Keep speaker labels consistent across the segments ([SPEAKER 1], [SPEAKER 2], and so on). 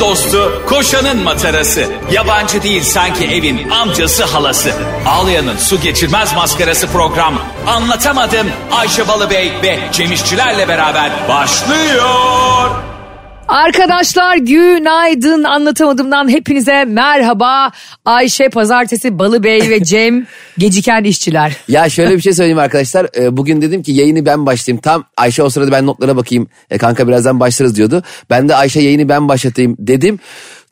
[SPEAKER 1] dostu, koşanın matarası. Yabancı değil sanki evin amcası halası. Ağlayanın su geçirmez maskarası program. Anlatamadım Ayşe Balıbey ve Cemişçilerle beraber başlıyor.
[SPEAKER 2] Arkadaşlar günaydın anlatamadığımdan hepinize merhaba. Ayşe Pazartesi Balıbey ve Cem geciken işçiler.
[SPEAKER 3] Ya şöyle bir şey söyleyeyim arkadaşlar. Ee, Bugün dedim ki yayını ben başlayayım. Tam Ayşe o sırada ben notlara bakayım. E, Kanka birazdan başlarız diyordu. Ben de Ayşe yayını ben başlatayım dedim.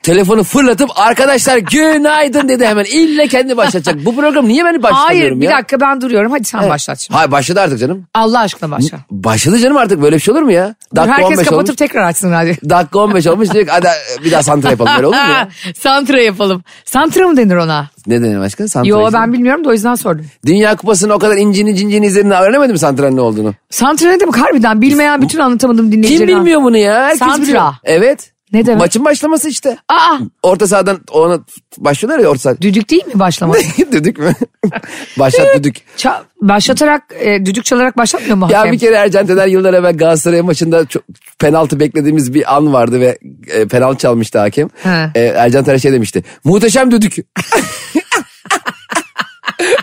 [SPEAKER 3] Telefonu fırlatıp arkadaşlar günaydın dedi hemen. İlle kendi başlatacak. Bu program niye beni
[SPEAKER 2] Hayır
[SPEAKER 3] başlatıyorum
[SPEAKER 2] bir
[SPEAKER 3] ya?
[SPEAKER 2] dakika ben duruyorum hadi sen başlat şimdi.
[SPEAKER 3] Hayır başladı artık canım.
[SPEAKER 2] Allah aşkına başla.
[SPEAKER 3] Başladı canım artık böyle bir şey olur mu ya? Dakika
[SPEAKER 2] Herkes
[SPEAKER 3] 15
[SPEAKER 2] kapatıp
[SPEAKER 3] olmuş.
[SPEAKER 2] tekrar açsın hadi.
[SPEAKER 3] Dakika 15 olmuş diyor ki, hadi bir daha santra yapalım böyle olur mu ya?
[SPEAKER 2] Santra yapalım. Santra mı denir ona?
[SPEAKER 3] Ne denir başka? Santra
[SPEAKER 2] Yo
[SPEAKER 3] işte.
[SPEAKER 2] ben bilmiyorum da o yüzden sordum.
[SPEAKER 3] Dünya kupasının o kadar incini cincini izlediğini öğrenemedi mi santranın ne olduğunu?
[SPEAKER 2] Santra ne demek harbiden bilmeyen bütün anlatamadım dinleyicilerine.
[SPEAKER 3] Kim bilmiyor bunu ya? Herkes
[SPEAKER 2] Santra.
[SPEAKER 3] biliyor. Evet.
[SPEAKER 2] Ne demek?
[SPEAKER 3] Maçın başlaması işte.
[SPEAKER 2] Aa
[SPEAKER 3] Orta sahadan ona başlıyorlar ya orta saha.
[SPEAKER 2] düdük değil mi başlamak?
[SPEAKER 3] düdük mü? Başlat düdük.
[SPEAKER 2] Ça- başlatarak e, düdük çalarak başlatmıyor mu hakem?
[SPEAKER 3] Ya bir kere Ercan Tener yıllar evvel Galatasaray maçında çok penaltı beklediğimiz bir an vardı ve e, penaltı çalmıştı hakem.
[SPEAKER 2] He.
[SPEAKER 3] E, Ercan Tener şey demişti. Muhteşem düdük.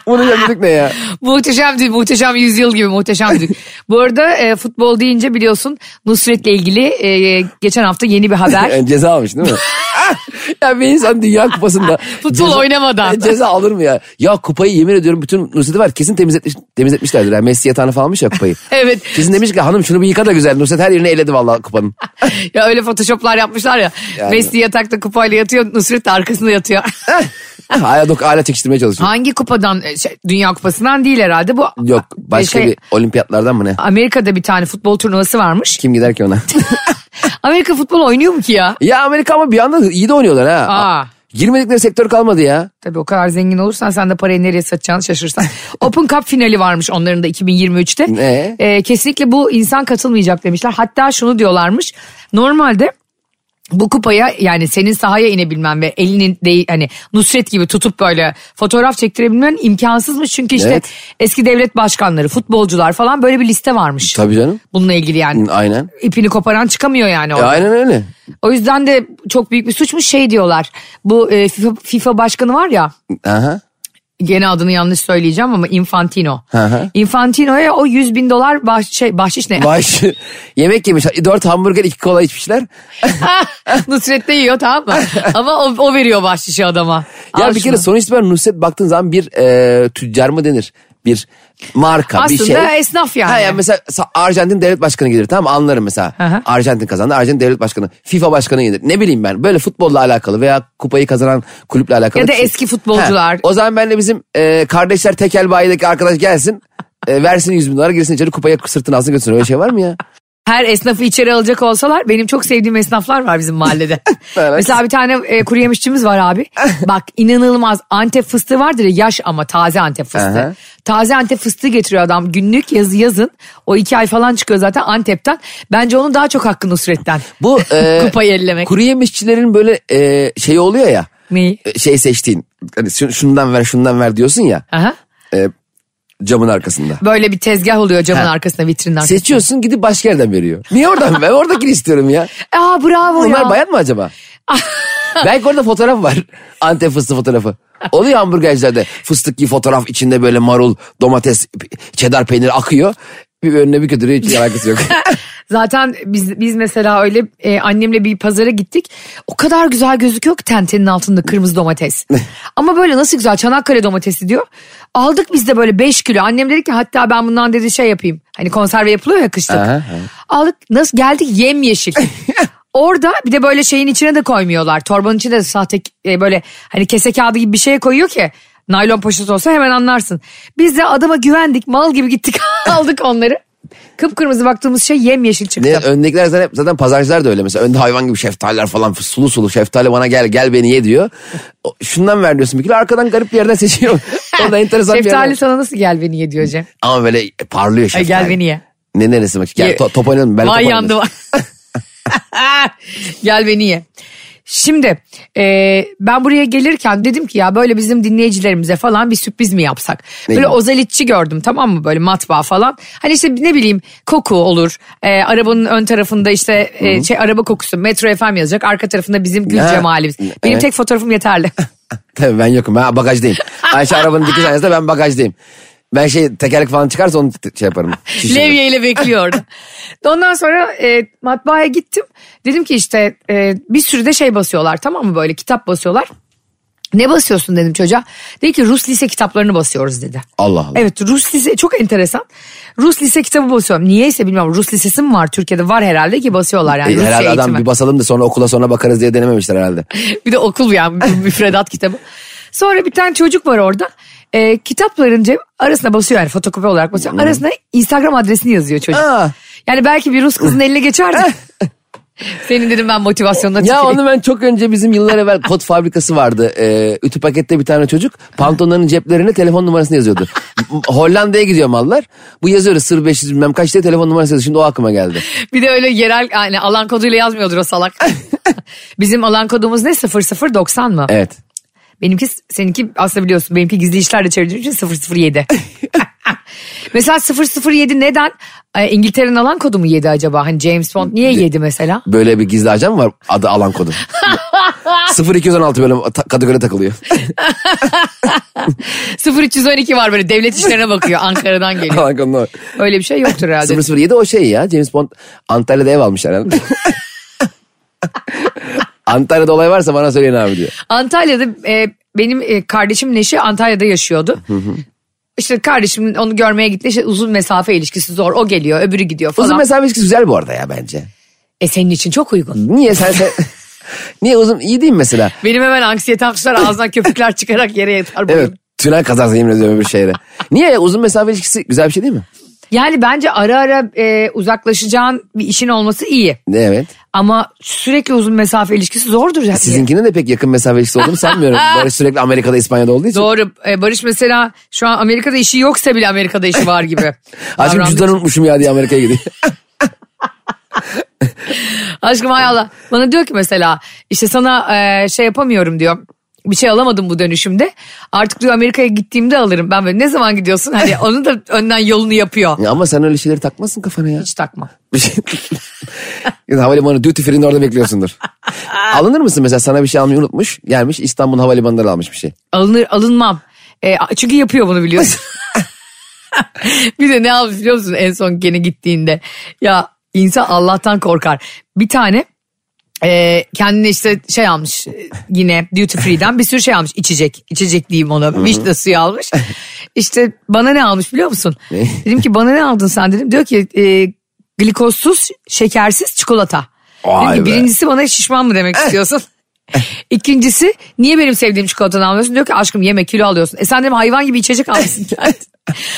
[SPEAKER 3] Muhteşem düdük ne ya?
[SPEAKER 2] Muhteşem değil, muhteşem yüzyıl gibi muhteşem değil. Bu arada e, futbol deyince biliyorsun Nusret'le ilgili e, geçen hafta yeni bir haber.
[SPEAKER 3] Yani ceza almış değil mi? Ah! ya bir insan Dünya Kupası'nda...
[SPEAKER 2] Ah, Futbol oynamadan.
[SPEAKER 3] Ceza alır mı ya? Ya kupayı yemin ediyorum bütün Nusret'i var. Kesin temizletmiş, temizletmişlerdir. Yani Messi yatağını falan almış ya kupayı.
[SPEAKER 2] evet.
[SPEAKER 3] Kesin demiş ki hanım şunu bir yıka da güzel. Nusret her yerini eledi vallahi kupanın.
[SPEAKER 2] Ya öyle photoshoplar yapmışlar ya.
[SPEAKER 3] Yani.
[SPEAKER 2] Messi yatakta kupayla yatıyor, Nusret de arkasında yatıyor. Ah.
[SPEAKER 3] hala, dok, hala çekiştirmeye çalışıyor.
[SPEAKER 2] Hangi kupadan? e, şey, Dünya Kupası'ndan değil herhalde bu.
[SPEAKER 3] Yok
[SPEAKER 2] e,
[SPEAKER 3] başka
[SPEAKER 2] şey, Ah.
[SPEAKER 3] bir olimpiyatlardan mı ne?
[SPEAKER 2] Amerika'da bir tane futbol turnuvası varmış.
[SPEAKER 3] Kim gider ki ona?
[SPEAKER 2] Amerika futbol oynuyor mu ki ya?
[SPEAKER 3] ya Amerika ama bir anda iyi de oynuyorlar ha.
[SPEAKER 2] Aa.
[SPEAKER 3] Girmedikleri sektör kalmadı ya.
[SPEAKER 2] Tabii o kadar zengin olursan sen de parayı nereye satacağını şaşırırsan. Open Cup finali varmış onların da 2023'te.
[SPEAKER 3] Ne?
[SPEAKER 2] Ee, kesinlikle bu insan katılmayacak demişler. Hatta şunu diyorlarmış. Normalde bu kupaya yani senin sahaya inebilmen ve elinin değil hani Nusret gibi tutup böyle fotoğraf çektirebilmen imkansızmış. Çünkü işte
[SPEAKER 3] Evet.
[SPEAKER 2] eski devlet başkanları, futbolcular falan böyle bir liste varmış.
[SPEAKER 3] Tabii canım.
[SPEAKER 2] Bununla ilgili yani.
[SPEAKER 3] Aynen.
[SPEAKER 2] İpini koparan çıkamıyor yani
[SPEAKER 3] E,
[SPEAKER 2] orada.
[SPEAKER 3] aynen öyle.
[SPEAKER 2] O yüzden de çok büyük bir suçmuş şey diyorlar. Bu e, FIFA, FIFA başkanı var ya
[SPEAKER 3] Aha.
[SPEAKER 2] gene adını yanlış söyleyeceğim ama Infantino.
[SPEAKER 3] hı.
[SPEAKER 2] Infantino'ya o 100 bin dolar bah, şey, bahşiş ne?
[SPEAKER 3] Baş, yemek yemiş. Dört hamburger iki kola içmişler.
[SPEAKER 2] Nusret de yiyor tamam mı? ama o, o veriyor bahşişi adama.
[SPEAKER 3] Ya
[SPEAKER 2] Al
[SPEAKER 3] bir
[SPEAKER 2] şunu.
[SPEAKER 3] kere sonuç itibariyle Nusret baktığın zaman bir e, tüccar mı denir? Bir marka, bir şey.
[SPEAKER 2] Aslında esnaf yani.
[SPEAKER 3] Ha yani mesela sa- Arjantin devlet başkanı gelir tamam mı? anlarım mesela.
[SPEAKER 2] hı.
[SPEAKER 3] Arjantin kazandı. Arjantin devlet başkanı. FIFA başkanı gelir. Ne bileyim ben böyle futbolla alakalı veya kupayı kazanan kulüple alakalı.
[SPEAKER 2] Ya da
[SPEAKER 3] bir şey.
[SPEAKER 2] eski futbolcular.
[SPEAKER 3] Ha, O zaman ben de bizim e, kardeşler tekel bayideki arkadaş gelsin. e, versin 100 bin dolar girsin içeri kupayı sırtına alsın götürsün. Öyle şey var mı ya?
[SPEAKER 2] Her esnafı içeri alacak olsalar benim çok sevdiğim esnaflar var bizim mahallede.
[SPEAKER 3] Evet.
[SPEAKER 2] Mesela bir tane e, kuru yemişçimiz var abi. Bak inanılmaz Antep fıstığı vardır ya yaş ama taze Antep fıstığı.
[SPEAKER 3] Aha.
[SPEAKER 2] Taze Antep fıstığı getiriyor adam günlük yazı yazın. O iki ay falan çıkıyor zaten Antep'ten. Bence onun daha çok hakkı Nusret'ten.
[SPEAKER 3] Bu e,
[SPEAKER 2] Kupayı ellemek.
[SPEAKER 3] kuru yemişçilerin böyle e, şeyi oluyor ya.
[SPEAKER 2] Neyi?
[SPEAKER 3] e, Şey seçtiğin. Hani şu- şundan ver şundan ver diyorsun ya
[SPEAKER 2] Aha.
[SPEAKER 3] camın arkasında.
[SPEAKER 2] Böyle bir tezgah oluyor camın
[SPEAKER 3] Ha.
[SPEAKER 2] arkasında vitrinin arkasında.
[SPEAKER 3] Seçiyorsun gidip başka yerden veriyor. Niye oradan? ben oradakini istiyorum ya.
[SPEAKER 2] E, Aa bravo
[SPEAKER 3] Bunlar
[SPEAKER 2] ya.
[SPEAKER 3] bayan mı acaba? Belki orada fotoğraf var. Antep fıstığı fotoğrafı. Oluyor hamburgercilerde. Fıstıklı fotoğraf içinde böyle marul, domates, çedar peyniri akıyor. Bir önüne bir kötürüyor hiç alakası yok.
[SPEAKER 2] Zaten biz biz mesela öyle e, annemle bir pazara gittik. O kadar güzel gözüküyor ki tentenin altında kırmızı domates. Ama böyle nasıl güzel Çanakkale domatesi diyor. Aldık biz de böyle 5 kilo. Annem dedi ki hatta ben bundan dedi şey yapayım. Hani konserve yapılıyor ya kışlık.
[SPEAKER 3] Aha, aha.
[SPEAKER 2] Aldık nasıl geldik yemyeşil. Orada bir de böyle şeyin içine de koymuyorlar. Torbanın içine de sahte e, böyle hani kese kağıdı gibi bir şey koyuyor ki. Naylon poşet olsa hemen anlarsın. Biz de adama güvendik mal gibi gittik aldık onları. Kıpkırmızı baktığımız şey yemyeşil çıktı.
[SPEAKER 3] ne, öndekiler zaten, zaten pazarcılar da öyle mesela. Önde hayvan gibi şeftaliler falan sulu sulu şeftali bana gel gel beni ye diyor. O- Şundan ver diyorsun bir kilo arkadan garip bir yerden seçiyor. Orada enteresan bir yer
[SPEAKER 2] Şeftali
[SPEAKER 3] var.
[SPEAKER 2] sana nasıl gel beni ye diyor Cem.
[SPEAKER 3] Ama böyle parlıyor
[SPEAKER 2] Ay
[SPEAKER 3] şeftali.
[SPEAKER 2] gel beni ye.
[SPEAKER 3] Ne neresi bak. Gel
[SPEAKER 2] Ye.
[SPEAKER 3] to- top oynayalım. Ben de
[SPEAKER 2] Vay
[SPEAKER 3] top
[SPEAKER 2] yandı
[SPEAKER 3] oynarım.
[SPEAKER 2] vay. gel beni ye. Şimdi e, ben buraya gelirken dedim ki ya böyle bizim dinleyicilerimize falan bir sürpriz mi yapsak?
[SPEAKER 3] Ne
[SPEAKER 2] böyle
[SPEAKER 3] gibi?
[SPEAKER 2] ozalitçi gördüm tamam mı böyle matbaa falan. Hani işte ne bileyim koku olur. E, arabanın ön tarafında işte e, şey araba kokusu Metro FM yazacak. Arka tarafında bizim gül
[SPEAKER 3] Ha,
[SPEAKER 2] cemalimiz. Benim
[SPEAKER 3] evet.
[SPEAKER 2] tek fotoğrafım yeterli.
[SPEAKER 3] Tabii ben yokum. Ben bagajdayım. Ayşe arabanın dikiş aynasında ben bagajdayım. Ben şey tekerlek falan çıkarsa onu t- şey yaparım. şişiririm.
[SPEAKER 2] Levye ile bekliyordu. Ondan sonra e, matbaaya gittim. Dedim ki işte e, bir sürü de şey basıyorlar tamam mı böyle kitap basıyorlar. Ne basıyorsun dedim çocuğa. Dedi ki Rus lise kitaplarını basıyoruz dedi.
[SPEAKER 3] Allah Allah.
[SPEAKER 2] Evet Rus lise çok enteresan. Rus lise kitabı basıyorum. Niyeyse bilmiyorum Rus lisesi mi var Türkiye'de var herhalde ki basıyorlar yani
[SPEAKER 3] E,
[SPEAKER 2] Rusça
[SPEAKER 3] herhalde adam
[SPEAKER 2] eğitimi.
[SPEAKER 3] bir basalım da sonra okula sonra bakarız diye denememişler herhalde.
[SPEAKER 2] bir de okul yani bir müfredat kitabı. Sonra bir tane çocuk var orada. Ee, kitapların cep arasına basıyor yani fotokopi olarak basıyor. Arasına Instagram adresini yazıyor çocuk.
[SPEAKER 3] Aa.
[SPEAKER 2] Yani belki bir Rus kızın eline geçerdi. Senin dedim ben motivasyonuna
[SPEAKER 3] Ya
[SPEAKER 2] tüküreyim.
[SPEAKER 3] onu ben çok önce bizim yıllar evvel kot fabrikası vardı. Ee, ütü pakette bir tane çocuk pantolonların ceplerine telefon numarasını yazıyordu. M- Hollanda'ya gidiyor mallar. Bu yazıyoruz sır 500 bilmem kaç diye telefon numarası yazıyor. Şimdi o aklıma geldi.
[SPEAKER 2] Bir de öyle yerel yani alan koduyla yazmıyordur o salak. Bizim alan kodumuz ne? 0090 mı?
[SPEAKER 3] Evet.
[SPEAKER 2] Benimki seninki aslında biliyorsun benimki gizli işlerle çevirdiğim için 007. mesela 007 neden? Ee, İngiltere'nin alan kodu mu 7 acaba? Hani James Bond niye 7 mesela?
[SPEAKER 3] Böyle bir gizli ajan mı var adı alan kodu? 0216 bölüm ta- Kadıköy'de takılıyor.
[SPEAKER 2] 0312 var böyle devlet işlerine bakıyor Ankara'dan geliyor.
[SPEAKER 3] alan kodu.
[SPEAKER 2] Öyle bir şey yoktur herhalde.
[SPEAKER 3] 007 o şey ya James Bond Antalya'da ev almışlar herhalde. Antalya'da olay varsa bana söyleyin abi diyor.
[SPEAKER 2] Antalya'da e, benim e, kardeşim Neşe Antalya'da yaşıyordu. İşte kardeşim onu görmeye gitti. İşte uzun mesafe ilişkisi zor. O geliyor, öbürü gidiyor falan.
[SPEAKER 3] Uzun mesafe ilişkisi güzel bu arada ya bence.
[SPEAKER 2] e senin için çok uygun.
[SPEAKER 3] Niye sen, sen niye uzun iyi değil mi mesela?
[SPEAKER 2] Benim hemen anksiyetem tutar ağzından köpükler çıkarak yere yatar boyun.
[SPEAKER 3] Evet. Tünel kazarsın yemin ediyorum bir şehre. Niye ya uzun mesafe ilişkisi güzel bir şey değil mi?
[SPEAKER 2] Yani bence ara ara e, uzaklaşacağın bir işin olması iyi.
[SPEAKER 3] Ne evet.
[SPEAKER 2] Ama sürekli uzun mesafe ilişkisi zordur.
[SPEAKER 3] E,
[SPEAKER 2] Yani.
[SPEAKER 3] Sizinkinin de pek yakın mesafe ilişkisi olduğunu sanmıyorum. Barış sürekli Amerika'da İspanya'da olduğu için.
[SPEAKER 2] Doğru. E, Barış mesela şu an Amerika'da işi yoksa bile Amerika'da işi var gibi.
[SPEAKER 3] Aşkım
[SPEAKER 2] davrandığı
[SPEAKER 3] cüzdanı unutmuşum ya diye Amerika'ya gidiyor.
[SPEAKER 2] Aşkım hay Allah. Bana diyor ki mesela işte sana e, şey yapamıyorum diyor. Bir şey alamadım bu dönüşümde. Artık diyor Amerika'ya gittiğimde alırım. Ben böyle ne zaman gidiyorsun? Hani onu da önden yolunu yapıyor.
[SPEAKER 3] Ya ama sen öyle şeyleri takmazsın kafana ya.
[SPEAKER 2] Hiç takma.
[SPEAKER 3] Bir şey. Ya da Havalimanı duty free'inde orada bekliyorsundur. Alınır mısın mesela sana bir şey almayı unutmuş. Gelmiş İstanbul havalimanından almış bir şey.
[SPEAKER 2] Alınır alınmam. E, çünkü yapıyor bunu biliyorsun. bir de ne almış biliyor musun en son gene gittiğinde? Ya insan Allah'tan korkar. Bir tane e, kendine işte şey almış e, yine duty free'den bir sürü şey almış içecek. İçecek diyeyim ona vişne suyu almış. İşte bana ne almış biliyor musun?
[SPEAKER 3] Ne?
[SPEAKER 2] Dedim ki bana ne aldın sen dedim. Diyor ki e, glukozsuz şekersiz çikolata.
[SPEAKER 3] Vay
[SPEAKER 2] Dedim ki,
[SPEAKER 3] be.
[SPEAKER 2] birincisi bana şişman mı demek istiyorsun? İkincisi niye benim sevdiğim çikolatadan almıyorsun? Diyor ki aşkım yeme kilo alıyorsun. E sen dedim hayvan gibi içecek almışsın kendin.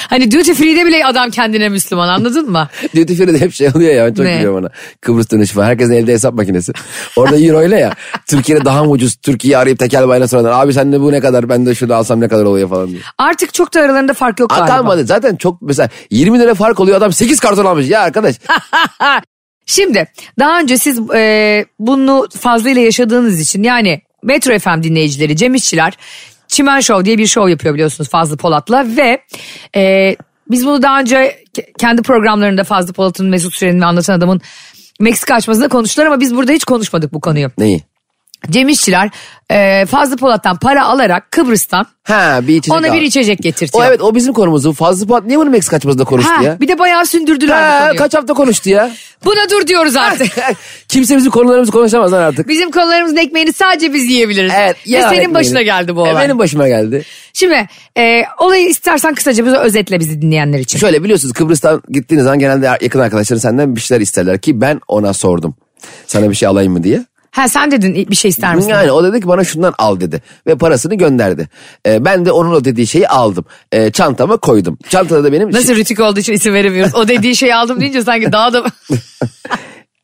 [SPEAKER 2] hani duty free'de bile adam kendine Müslüman anladın mı?
[SPEAKER 3] Duty free'de hep şey oluyor ya ben çok
[SPEAKER 2] Ne?
[SPEAKER 3] gülüyorum ona. Kıbrıs dönüşü falan. Herkesin elde hesap makinesi. Orada euro ile ya. Türkiye'de daha mı ucuz? Türkiye'yi arayıp tekel bayla sorarlar. Abi sen de bu ne kadar? Ben de şunu alsam ne kadar oluyor falan diye.
[SPEAKER 2] Artık çok da aralarında fark yok
[SPEAKER 3] Aa,
[SPEAKER 2] galiba.
[SPEAKER 3] kalmadı. Zaten çok mesela 20 lira fark oluyor. Adam 8 karton almış. Ya arkadaş.
[SPEAKER 2] Şimdi daha önce siz e, bunu fazlıyla yaşadığınız için yani Metro FM dinleyicileri, Cem İşçiler, Çimen Show diye bir show yapıyor biliyorsunuz Fazlı Polat'la ve e, biz bunu daha önce ke- kendi programlarında Fazlı Polat'ın, Mesut Süren'in ve Anlatan Adam'ın Meksika açmasında konuştular ama biz burada hiç konuşmadık bu konuyu.
[SPEAKER 3] Neyi?
[SPEAKER 2] Cem İşçiler e, Fazlı Polat'tan para alarak Kıbrıs'tan
[SPEAKER 3] Ha bir içecek
[SPEAKER 2] ona
[SPEAKER 3] al.
[SPEAKER 2] bir içecek
[SPEAKER 3] O
[SPEAKER 2] getirtiyor.
[SPEAKER 3] evet o bizim konumuzdu. Fazlı Polat niye bunu Meksika açmasında konuştu
[SPEAKER 2] ha,
[SPEAKER 3] ya?
[SPEAKER 2] Bir de bayağı sündürdüler bu
[SPEAKER 3] Ha,
[SPEAKER 2] konuyu.
[SPEAKER 3] kaç hafta konuştu ya?
[SPEAKER 2] Buna dur diyoruz artık.
[SPEAKER 3] Kimse bizim konularımızı konuşamaz lan artık.
[SPEAKER 2] Bizim konularımızın ekmeğini sadece biz yiyebiliriz.
[SPEAKER 3] Evet,
[SPEAKER 2] Ve
[SPEAKER 3] ya
[SPEAKER 2] E, senin
[SPEAKER 3] ekmeğini.
[SPEAKER 2] başına geldi bu olay.
[SPEAKER 3] E, benim başıma geldi.
[SPEAKER 2] Şimdi e, olayı istersen kısaca bize özetle bizi dinleyenler için.
[SPEAKER 3] Şöyle biliyorsunuz Kıbrıs'tan gittiğiniz zaman genelde yakın arkadaşların senden bir şeyler isterler ki ben ona sordum. Sana bir şey alayım mı diye.
[SPEAKER 2] Ha sen dedin bir şey ister misin?
[SPEAKER 3] Yani o dedi ki bana şundan al dedi ve parasını gönderdi. E, ben de onun o dediği şeyi aldım. E, çantama koydum. Çantada da benim şey
[SPEAKER 2] Nasıl rütük olduğu için isim veremiyoruz. O dediği şeyi aldım deyince sanki daha da...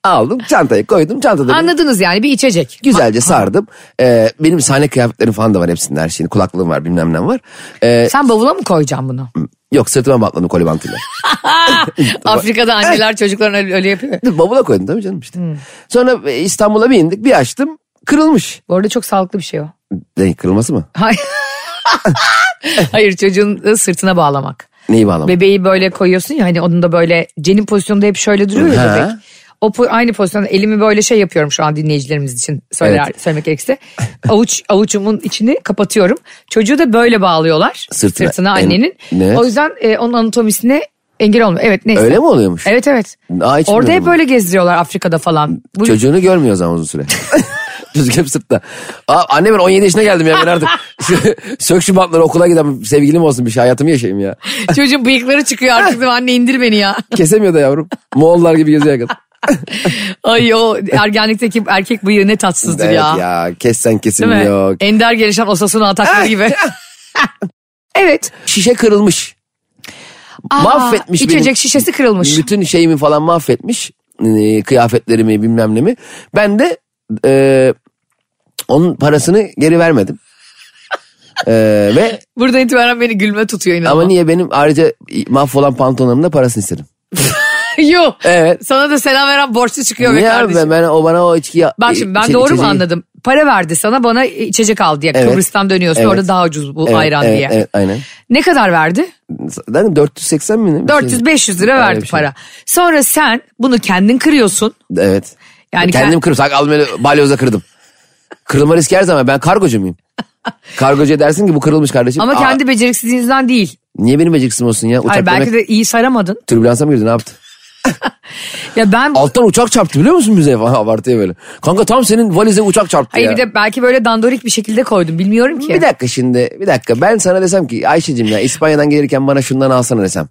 [SPEAKER 3] aldım çantayı koydum çantada. benim-
[SPEAKER 2] Anladınız yani bir içecek.
[SPEAKER 3] Güzelce sardım. E, benim sahne kıyafetlerim falan da var hepsinin her şeyin. Kulaklığım var bilmem ne var. E,
[SPEAKER 2] Sen bavula mı koyacaksın bunu?
[SPEAKER 3] yok sırtıma bağladım kolibantıyla.
[SPEAKER 2] Afrika'da
[SPEAKER 3] Eh!
[SPEAKER 2] anneler çocuklarına öyle öyle yapıyor. Hmm.
[SPEAKER 3] Bavula koydum tabii canım işte. Sonra e, İstanbul'a bir indik bir açtım Kırılmış.
[SPEAKER 2] Bu arada çok sağlıklı bir şey o.
[SPEAKER 3] Ne kırılması mı?
[SPEAKER 2] Hayır. Hayır çocuğun sırtına bağlamak.
[SPEAKER 3] Neyi bağlamak?
[SPEAKER 2] Bebeği böyle koyuyorsun ya hani onun da böyle cenin pozisyonunda hep şöyle duruyor ya
[SPEAKER 3] Ha.
[SPEAKER 2] bebek. O po- aynı pozisyonda elimi böyle şey yapıyorum şu an dinleyicilerimiz için söyler,
[SPEAKER 3] Evet.
[SPEAKER 2] söylemek gerekirse. Avuç, avucumun içini kapatıyorum. Çocuğu da böyle bağlıyorlar
[SPEAKER 3] Sırtına.
[SPEAKER 2] sırtına,
[SPEAKER 3] En-
[SPEAKER 2] annenin.
[SPEAKER 3] Evet.
[SPEAKER 2] O yüzden e, onun anatomisine engel olmuyor. Evet neyse.
[SPEAKER 3] Öyle mi oluyormuş?
[SPEAKER 2] Evet evet.
[SPEAKER 3] Aa,
[SPEAKER 2] Orada
[SPEAKER 3] hiç bilmiyordum
[SPEAKER 2] hep
[SPEAKER 3] bunu.
[SPEAKER 2] böyle gezdiriyorlar Afrika'da falan. Bu
[SPEAKER 3] Çocuğunu görmüyor o zaman uzun süre. Çocuk hep sırtta. Aa, anne ben 17 yaşına geldim ya ben artık. Sök şu bantları okula giden sevgilim olsun bir şey hayatımı yaşayayım ya.
[SPEAKER 2] çocuğun bıyıkları çıkıyor artık Dedim, anne indir beni ya.
[SPEAKER 3] Kesemiyor da yavrum. Moğollar gibi geziyor kadın.
[SPEAKER 2] Ay o ergenlikteki erkek bıyığı ne tatsızdır
[SPEAKER 3] Evet
[SPEAKER 2] ya.
[SPEAKER 3] ya kessen kesim
[SPEAKER 2] Değil mi?
[SPEAKER 3] yok.
[SPEAKER 2] Ender gelişen Osasuna atakları gibi. evet.
[SPEAKER 3] Şişe kırılmış.
[SPEAKER 2] Aa,
[SPEAKER 3] Mahvetmiş
[SPEAKER 2] İçecek
[SPEAKER 3] benim-
[SPEAKER 2] şişesi kırılmış.
[SPEAKER 3] Bütün şeyimi falan mahvetmiş. Ee, Kıyafetlerimi bilmem ne mi. Ben de e, onun parasını geri vermedim. Ee, ve
[SPEAKER 2] Buradan itibaren beni gülme tutuyor inan.
[SPEAKER 3] ama niye benim ayrıca mahvolan pantolonumda parasını istedim.
[SPEAKER 2] Yok.
[SPEAKER 3] Evet.
[SPEAKER 2] Sana da selam veren borçlu çıkıyor be
[SPEAKER 3] Niye abi
[SPEAKER 2] kardeşim.
[SPEAKER 3] ben, ben o bana o içkiyi...
[SPEAKER 2] Bak şimdi ben
[SPEAKER 3] içe-
[SPEAKER 2] doğru mu
[SPEAKER 3] içeceği-
[SPEAKER 2] anladım? Para verdi sana bana içecek al diye.
[SPEAKER 3] Evet.
[SPEAKER 2] Kıbrıs'tan dönüyorsun
[SPEAKER 3] Evet.
[SPEAKER 2] orada daha ucuz bu
[SPEAKER 3] Evet,
[SPEAKER 2] ayran
[SPEAKER 3] evet,
[SPEAKER 2] diye.
[SPEAKER 3] Evet aynen.
[SPEAKER 2] Ne kadar verdi?
[SPEAKER 3] Zaten 480 mi? ne? Bir şey-
[SPEAKER 2] 400-500 lira
[SPEAKER 3] Öyle
[SPEAKER 2] verdi
[SPEAKER 3] bir şey.
[SPEAKER 2] para. Sonra sen bunu kendin kırıyorsun.
[SPEAKER 3] Evet.
[SPEAKER 2] Yani
[SPEAKER 3] Kendim
[SPEAKER 2] kend-
[SPEAKER 3] kırdım. Sak almalı balyoza kırdım. Kırılma riski her zaman. Ben kargocu muyum? Kargocuya dersin ki bu kırılmış kardeşim.
[SPEAKER 2] Ama
[SPEAKER 3] Aa,
[SPEAKER 2] kendi beceriksizliğinizden değil.
[SPEAKER 3] niye benim beceriksizim olsun ya? Uçak
[SPEAKER 2] Hayır,
[SPEAKER 3] belki
[SPEAKER 2] belki de iyi saramadın.
[SPEAKER 3] türbülansa mı girdi ne yaptı?
[SPEAKER 2] Ya ben
[SPEAKER 3] Alttan uçak çarptı biliyor musun bize falan abartıya böyle. Kanka tam senin valize uçak çarptı
[SPEAKER 2] Hayır
[SPEAKER 3] ya.
[SPEAKER 2] bir de belki böyle dandorik bir şekilde koydum bilmiyorum ki.
[SPEAKER 3] Bir dakika şimdi bir dakika ben sana desem ki Ayşe'cim ya İspanya'dan gelirken bana şundan alsana desem.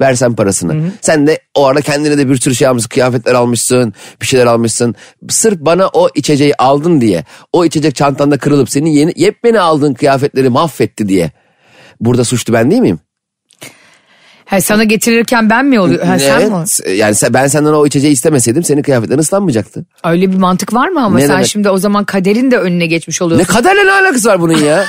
[SPEAKER 3] Versen parasını. Sen de o arada kendine de bir sürü şey almışsın. Kıyafetler almışsın. Bir şeyler almışsın. Sırf bana o içeceği aldın diye. O içecek çantanda kırılıp senin yeni, yepyeni aldığın kıyafetleri mahvetti diye. Burada suçlu ben değil miyim?
[SPEAKER 2] Ha, sana getirirken ben mi oluyor? Ha, sen mi?
[SPEAKER 3] Evet. Yani sen- ben senden o içeceği istemeseydim senin kıyafetlerin ıslanmayacaktı.
[SPEAKER 2] Öyle bir mantık var mı ama
[SPEAKER 3] Ne
[SPEAKER 2] sen
[SPEAKER 3] demek?
[SPEAKER 2] şimdi o zaman kaderin de önüne geçmiş oluyorsun.
[SPEAKER 3] Ne kaderle ne alakası var bunun ya?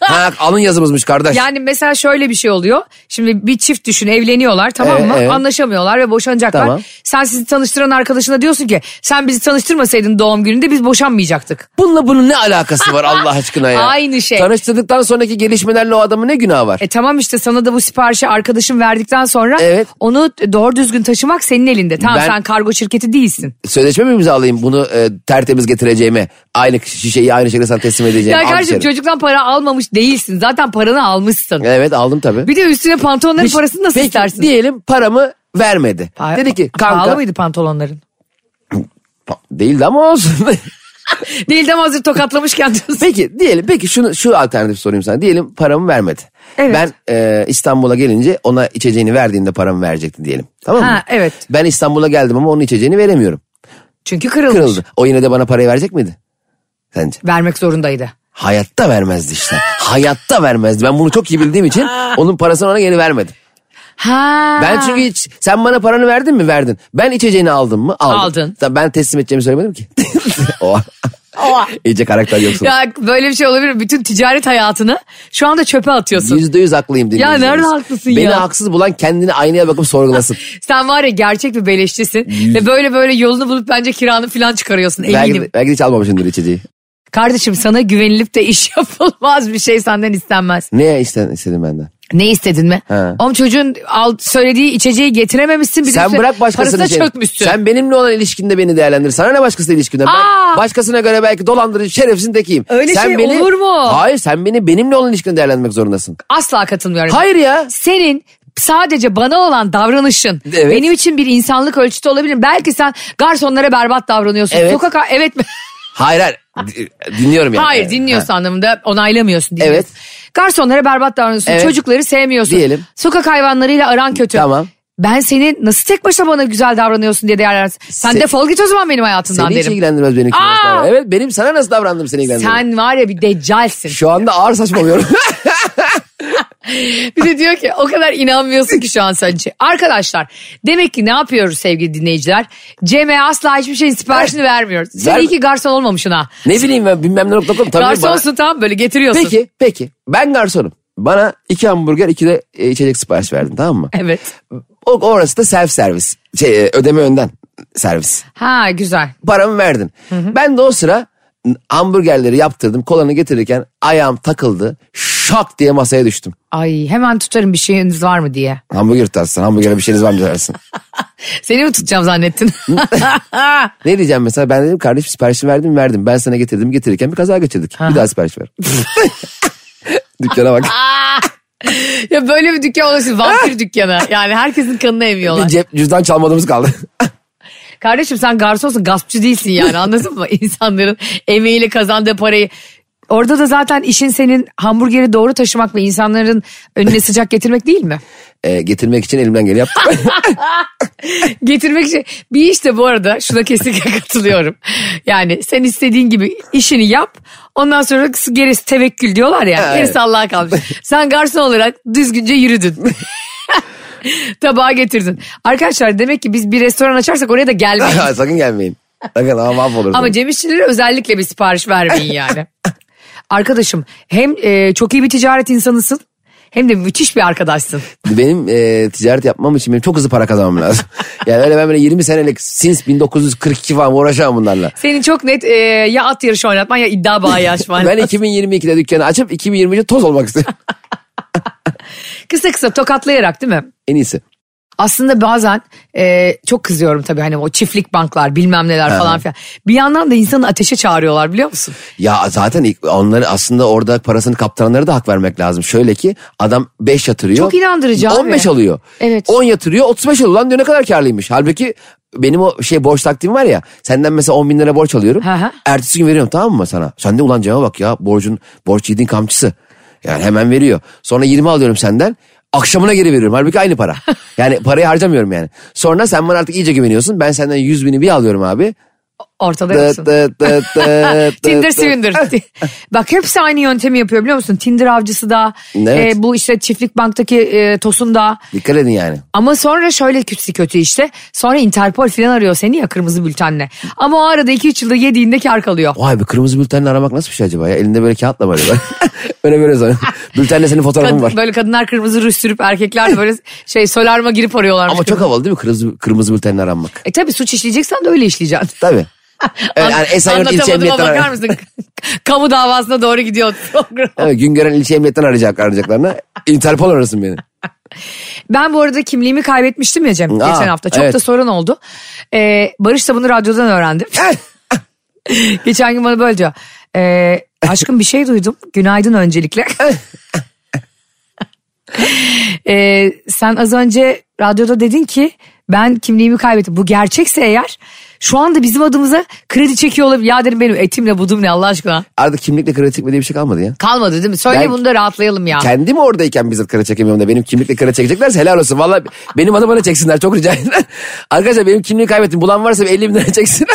[SPEAKER 3] ha, alın yazımızmış kardeş.
[SPEAKER 2] Yani mesela şöyle bir şey oluyor. Şimdi bir çift düşün evleniyorlar tamam
[SPEAKER 3] Evet,
[SPEAKER 2] mı?
[SPEAKER 3] evet.
[SPEAKER 2] Anlaşamıyorlar ve boşanacaklar.
[SPEAKER 3] Tamam.
[SPEAKER 2] Sen sizi tanıştıran arkadaşına diyorsun ki sen bizi tanıştırmasaydın doğum gününde biz boşanmayacaktık.
[SPEAKER 3] Bununla bunun ne alakası var Allah aşkına ya?
[SPEAKER 2] Aynı şey.
[SPEAKER 3] Tanıştırdıktan sonraki gelişmelerle o adamın ne günahı var?
[SPEAKER 2] E tamam işte sana da bu siparişi arkadaşın verdikten sonra
[SPEAKER 3] Evet.
[SPEAKER 2] onu doğru düzgün taşımak senin elinde. Tamam
[SPEAKER 3] Ben-
[SPEAKER 2] sen kargo şirketi değilsin.
[SPEAKER 3] Sözleşme mi imzalayayım bunu e, tertemiz getireceğime? Aynı şişeyi aynı şekilde sana teslim edeceğim.
[SPEAKER 2] Ya
[SPEAKER 3] Al
[SPEAKER 2] kardeşim
[SPEAKER 3] dışarı.
[SPEAKER 2] çocuktan para almamış değilsin. Zaten paranı almışsın.
[SPEAKER 3] Evet aldım tabii.
[SPEAKER 2] Bir de üstüne pantolonların parasını nasıl
[SPEAKER 3] Peki,
[SPEAKER 2] istersin?
[SPEAKER 3] Diyelim paramı vermedi.
[SPEAKER 2] Pa-
[SPEAKER 3] Dedi ki
[SPEAKER 2] Pahalı
[SPEAKER 3] kanka.
[SPEAKER 2] mıydı pantolonların?
[SPEAKER 3] Pa- değildi ama olsun.
[SPEAKER 2] Değil de hazır tokatlamışken diyorsun.
[SPEAKER 3] peki diyelim peki şunu şu alternatif sorayım sana. Diyelim paramı vermedi.
[SPEAKER 2] Evet.
[SPEAKER 3] Ben e, İstanbul'a gelince ona içeceğini verdiğinde paramı verecekti diyelim. Tamam mı?
[SPEAKER 2] Ha, evet.
[SPEAKER 3] Ben İstanbul'a geldim ama onun içeceğini veremiyorum.
[SPEAKER 2] Çünkü kırılmış.
[SPEAKER 3] Kırıldı. O yine de bana parayı verecek miydi? Sence?
[SPEAKER 2] Vermek zorundaydı.
[SPEAKER 3] Hayatta vermezdi işte. Hayatta vermezdi. Ben bunu çok iyi bildiğim için onun parasını ona geri vermedim.
[SPEAKER 2] Ha.
[SPEAKER 3] Ben çünkü hiç sen bana paranı verdin mi? Verdin. Ben içeceğini aldım mı? Aldım.
[SPEAKER 2] Aldın.
[SPEAKER 3] Tabii ben teslim edeceğimi söylemedim ki. o. İyice karakter yoksun.
[SPEAKER 2] Ya böyle bir şey olabilir. mi? Bütün ticaret hayatını şu anda çöpe atıyorsun.
[SPEAKER 3] Yüzde yüz haklıyım dinleyicilerimiz.
[SPEAKER 2] nerede haklısın
[SPEAKER 3] Beni
[SPEAKER 2] ya?
[SPEAKER 3] haksız bulan kendini aynaya bakıp sorgulasın.
[SPEAKER 2] Sen var ya gerçek bir beleşçisin. Ve böyle böyle yolunu bulup bence kiranı falan çıkarıyorsun eminim.
[SPEAKER 3] belki, de- belki de hiç almamışımdır içeceği.
[SPEAKER 2] Kardeşim sana güvenilip de iş yapılmaz bir şey senden istenmez.
[SPEAKER 3] Ne isten, istedin benden?
[SPEAKER 2] Ne istedin mi?
[SPEAKER 3] Ha.
[SPEAKER 2] Oğlum çocuğun al, söylediği içeceği getirememişsin. Bir de
[SPEAKER 3] Sen
[SPEAKER 2] üstüne
[SPEAKER 3] bırak başkasını. şey-
[SPEAKER 2] Parasına çökmüşsün.
[SPEAKER 3] Sen benimle olan ilişkinde beni değerlendir. Sana ne başkasıyla ilişkinden? Ben
[SPEAKER 2] Aa!
[SPEAKER 3] başkasına göre belki dolandırıcı şerefsin tekiyim.
[SPEAKER 2] Öyle
[SPEAKER 3] sen
[SPEAKER 2] şey olur mu?
[SPEAKER 3] Hayır sen beni benimle olan ilişkinde değerlendirmek zorundasın.
[SPEAKER 2] Asla katılmıyorum.
[SPEAKER 3] Hayır ya.
[SPEAKER 2] Senin sadece bana olan davranışın
[SPEAKER 3] Evet.
[SPEAKER 2] benim için bir insanlık ölçütü olabilir. Belki sen garsonlara berbat davranıyorsun.
[SPEAKER 3] Evet.
[SPEAKER 2] Sokak evet mi?
[SPEAKER 3] Hayır hayır. Di- Dinliyorum yani.
[SPEAKER 2] Hayır
[SPEAKER 3] Evet.
[SPEAKER 2] dinliyorsun anlamında onaylamıyorsun dinliyorsun.
[SPEAKER 3] e, Evet.
[SPEAKER 2] Garsonlara berbat davranıyorsun.
[SPEAKER 3] Evet.
[SPEAKER 2] Çocukları sevmiyorsun.
[SPEAKER 3] Diyelim.
[SPEAKER 2] Sokak hayvanlarıyla aran kötü.
[SPEAKER 3] Tamam.
[SPEAKER 2] Ben seni nasıl tek başına bana güzel davranıyorsun diye değerlendirsin. Sen
[SPEAKER 3] Se-
[SPEAKER 2] defol git o zaman benim
[SPEAKER 3] Ha.
[SPEAKER 2] hayatımdan
[SPEAKER 3] Seni hiç
[SPEAKER 2] derim.
[SPEAKER 3] ilgilendirmez benim. kim
[SPEAKER 2] Aa!
[SPEAKER 3] nasıl davran- Evet benim sana nasıl davrandım seni ilgilendirmez.
[SPEAKER 2] Sen var ya bir deccalsin.
[SPEAKER 3] Şu anda ağır saçmalıyorum.
[SPEAKER 2] Bir de diyor ki o kadar inanmıyorsun ki şu an sen. Arkadaşlar demek ki ne yapıyoruz sevgili dinleyiciler? Cem'e asla hiçbir şeyin siparişini vermiyoruz. Sen
[SPEAKER 3] Ver-
[SPEAKER 2] iyi ki garson olmamışsın ha.
[SPEAKER 3] ne bileyim ben bilmem ne nokta com. Tabii bana-
[SPEAKER 2] Garsonsun tamam böyle getiriyorsun.
[SPEAKER 3] Peki peki ben garsonum. Bana iki hamburger iki de e, içecek sipariş verdin tamam mı?
[SPEAKER 2] Evet.
[SPEAKER 3] O, orası da self servis. Şey, e, ödeme önden servis.
[SPEAKER 2] Ha güzel.
[SPEAKER 3] paramı verdin. Ben de o sıra hamburgerleri yaptırdım. Kolanı getirirken ayağım takıldı. Şak diye masaya düştüm.
[SPEAKER 2] Ay hemen tutarım bir şeyiniz var mı diye.
[SPEAKER 3] Hamburger tutarsın. Hamburgere bir şeyiniz var mı dersin.
[SPEAKER 2] Seni mi tutacağım zannettin?
[SPEAKER 3] ne diyeceğim mesela? Ben dedim kardeşim siparişini verdim mi? verdim. Ben sana getirdim getirirken bir kaza geçirdik. Bir daha sipariş ver. Dükkana bak.
[SPEAKER 2] ya böyle bir dükkan olursun vampir dükkanı. Yani herkesin kanını
[SPEAKER 3] Bir
[SPEAKER 2] emiyorlar.
[SPEAKER 3] cep cüzdan çalmadığımız kaldı.
[SPEAKER 2] Kardeşim sen garsonsun gaspçı değilsin yani anladın mı? İnsanların emeğiyle kazandığı parayı. Orada da zaten işin senin hamburgeri doğru taşımak ve insanların önüne sıcak getirmek değil mi?
[SPEAKER 3] Ee, getirmek için elimden geleni yaptım.
[SPEAKER 2] Getirmek için bir işte bu arada şuna kesinlikle katılıyorum. Yani sen istediğin gibi işini yap ondan sonra gerisi tevekkül diyorlar ya gerisi Allah'a kalmış. Sen garson olarak düzgünce yürüdün. Tabağa getirdin. Arkadaşlar demek ki biz bir restoran açarsak oraya da gelmeyiz.
[SPEAKER 3] Sakın gelmeyin. Sakın ama mahvolursunuz.
[SPEAKER 2] Ama Cem İşçilere özellikle bir sipariş vermeyin yani. Arkadaşım hem e, çok iyi bir ticaret insanısın hem de müthiş bir arkadaşsın.
[SPEAKER 3] Benim e, ticaret yapmam için benim çok hızlı para kazanmam lazım. yani öyle ben böyle 20 senelik since 1942 falan uğraşamam bunlarla.
[SPEAKER 2] Senin çok net e, ya at yarışı oynatman ya iddia bağı açman.
[SPEAKER 3] Ben 2022'de dükkanı açıp 2023'te toz olmak istiyorum.
[SPEAKER 2] Kısa kısa tokatlayarak değil mi?
[SPEAKER 3] en iyisi.
[SPEAKER 2] Aslında bazen e, çok kızıyorum tabii hani o çiftlik banklar bilmem neler falan filan. Bir yandan da insanı ateşe çağırıyorlar biliyor musun?
[SPEAKER 3] Ya zaten ilk- onları aslında orada parasını kaptıranlara da hak vermek lazım. Şöyle ki adam 5 yatırıyor.
[SPEAKER 2] Çok inandırıcı abi.
[SPEAKER 3] 15 alıyor.
[SPEAKER 2] Evet.
[SPEAKER 3] 10 yatırıyor 35 alıyor. Lan diyor ne kadar karlıymış. Halbuki benim o şey borç taktiğim var ya. Senden mesela 10 bin lira borç alıyorum.
[SPEAKER 2] Hı hı.
[SPEAKER 3] Ertesi gün veriyorum tamam mı sana? Sen de ulan cama bak ya borcun borç yediğin kamçısı. Yani hemen veriyor. Sonra 20 alıyorum senden. Akşamına geri veriyorum. Halbuki aynı para. Yani parayı harcamıyorum yani. Sonra sen bana artık iyice güveniyorsun. Ben senden 100 bini bir alıyorum abi.
[SPEAKER 2] Ortada
[SPEAKER 3] Dıt
[SPEAKER 2] yoksun.
[SPEAKER 3] dıt dıt dıt
[SPEAKER 2] Tinder
[SPEAKER 3] dıt dıt.
[SPEAKER 2] Swinder. Bak hepsi aynı yöntemi yapıyor biliyor musun? Tinder avcısı da,
[SPEAKER 3] Evet.
[SPEAKER 2] e, bu işte çiftlik banktaki e, tosun da.
[SPEAKER 3] Dikkat edin yani.
[SPEAKER 2] Ama sonra şöyle kötü kötü işte. Sonra Interpol falan arıyor seni ya kırmızı bültenle. Ama o arada 2-3 yılda yediğinde kar kalıyor.
[SPEAKER 3] Vay be kırmızı bültenle aramak nasıl bir şey acaba ya? Elinde böyle kağıtla böyle. böyle böyle sonra. Bültenle senin fotoğrafın var.
[SPEAKER 2] Kad- böyle kadınlar kırmızı rüş sürüp erkekler de böyle şey solarma girip arıyorlar.
[SPEAKER 3] Ama çok havalı değil mi kırmızı, kırmızı bültenle aranmak?
[SPEAKER 2] E tabi suç işleyeceksen de öyle işleyeceksin.
[SPEAKER 3] Tabii. Evet, yani Esenyurt İlçe
[SPEAKER 2] Anlatamadıma
[SPEAKER 3] Emniyet'ten
[SPEAKER 2] bakar
[SPEAKER 3] arar.
[SPEAKER 2] mısın? Kamu davasına doğru gidiyor program.
[SPEAKER 3] Evet, Güngören İlçe Emniyet'ten arayacak, arayacaklarına. Interpol arasın beni.
[SPEAKER 2] Ben bu arada kimliğimi kaybetmiştim ya Cem
[SPEAKER 3] Aa,
[SPEAKER 2] geçen hafta. Çok
[SPEAKER 3] evet.
[SPEAKER 2] da sorun oldu. Ee, Barış da bunu radyodan öğrendim. geçen gün bana böyle diyor. Ee, aşkım bir şey duydum. Günaydın öncelikle. Ee, sen az önce radyoda dedin ki ben kimliğimi kaybettim. Bu gerçekse eğer şu anda bizim adımıza kredi çekiyor olabilir. Ya dedim benim etimle budum ne Allah aşkına.
[SPEAKER 3] Artık kimlikle kredi çekme diye bir şey kalmadı ya.
[SPEAKER 2] Kalmadı değil mi? Söyle
[SPEAKER 3] Ben-
[SPEAKER 2] bunu da rahatlayalım ya.
[SPEAKER 3] Kendim oradayken bizzat kredi çekemiyorum da benim kimlikle kredi çekeceklerse helal olsun. Valla benim adı bana çeksinler çok rica ederim. Arkadaşlar benim kimliği kaybettim. Bulan varsa bir 50 bin lira çeksin.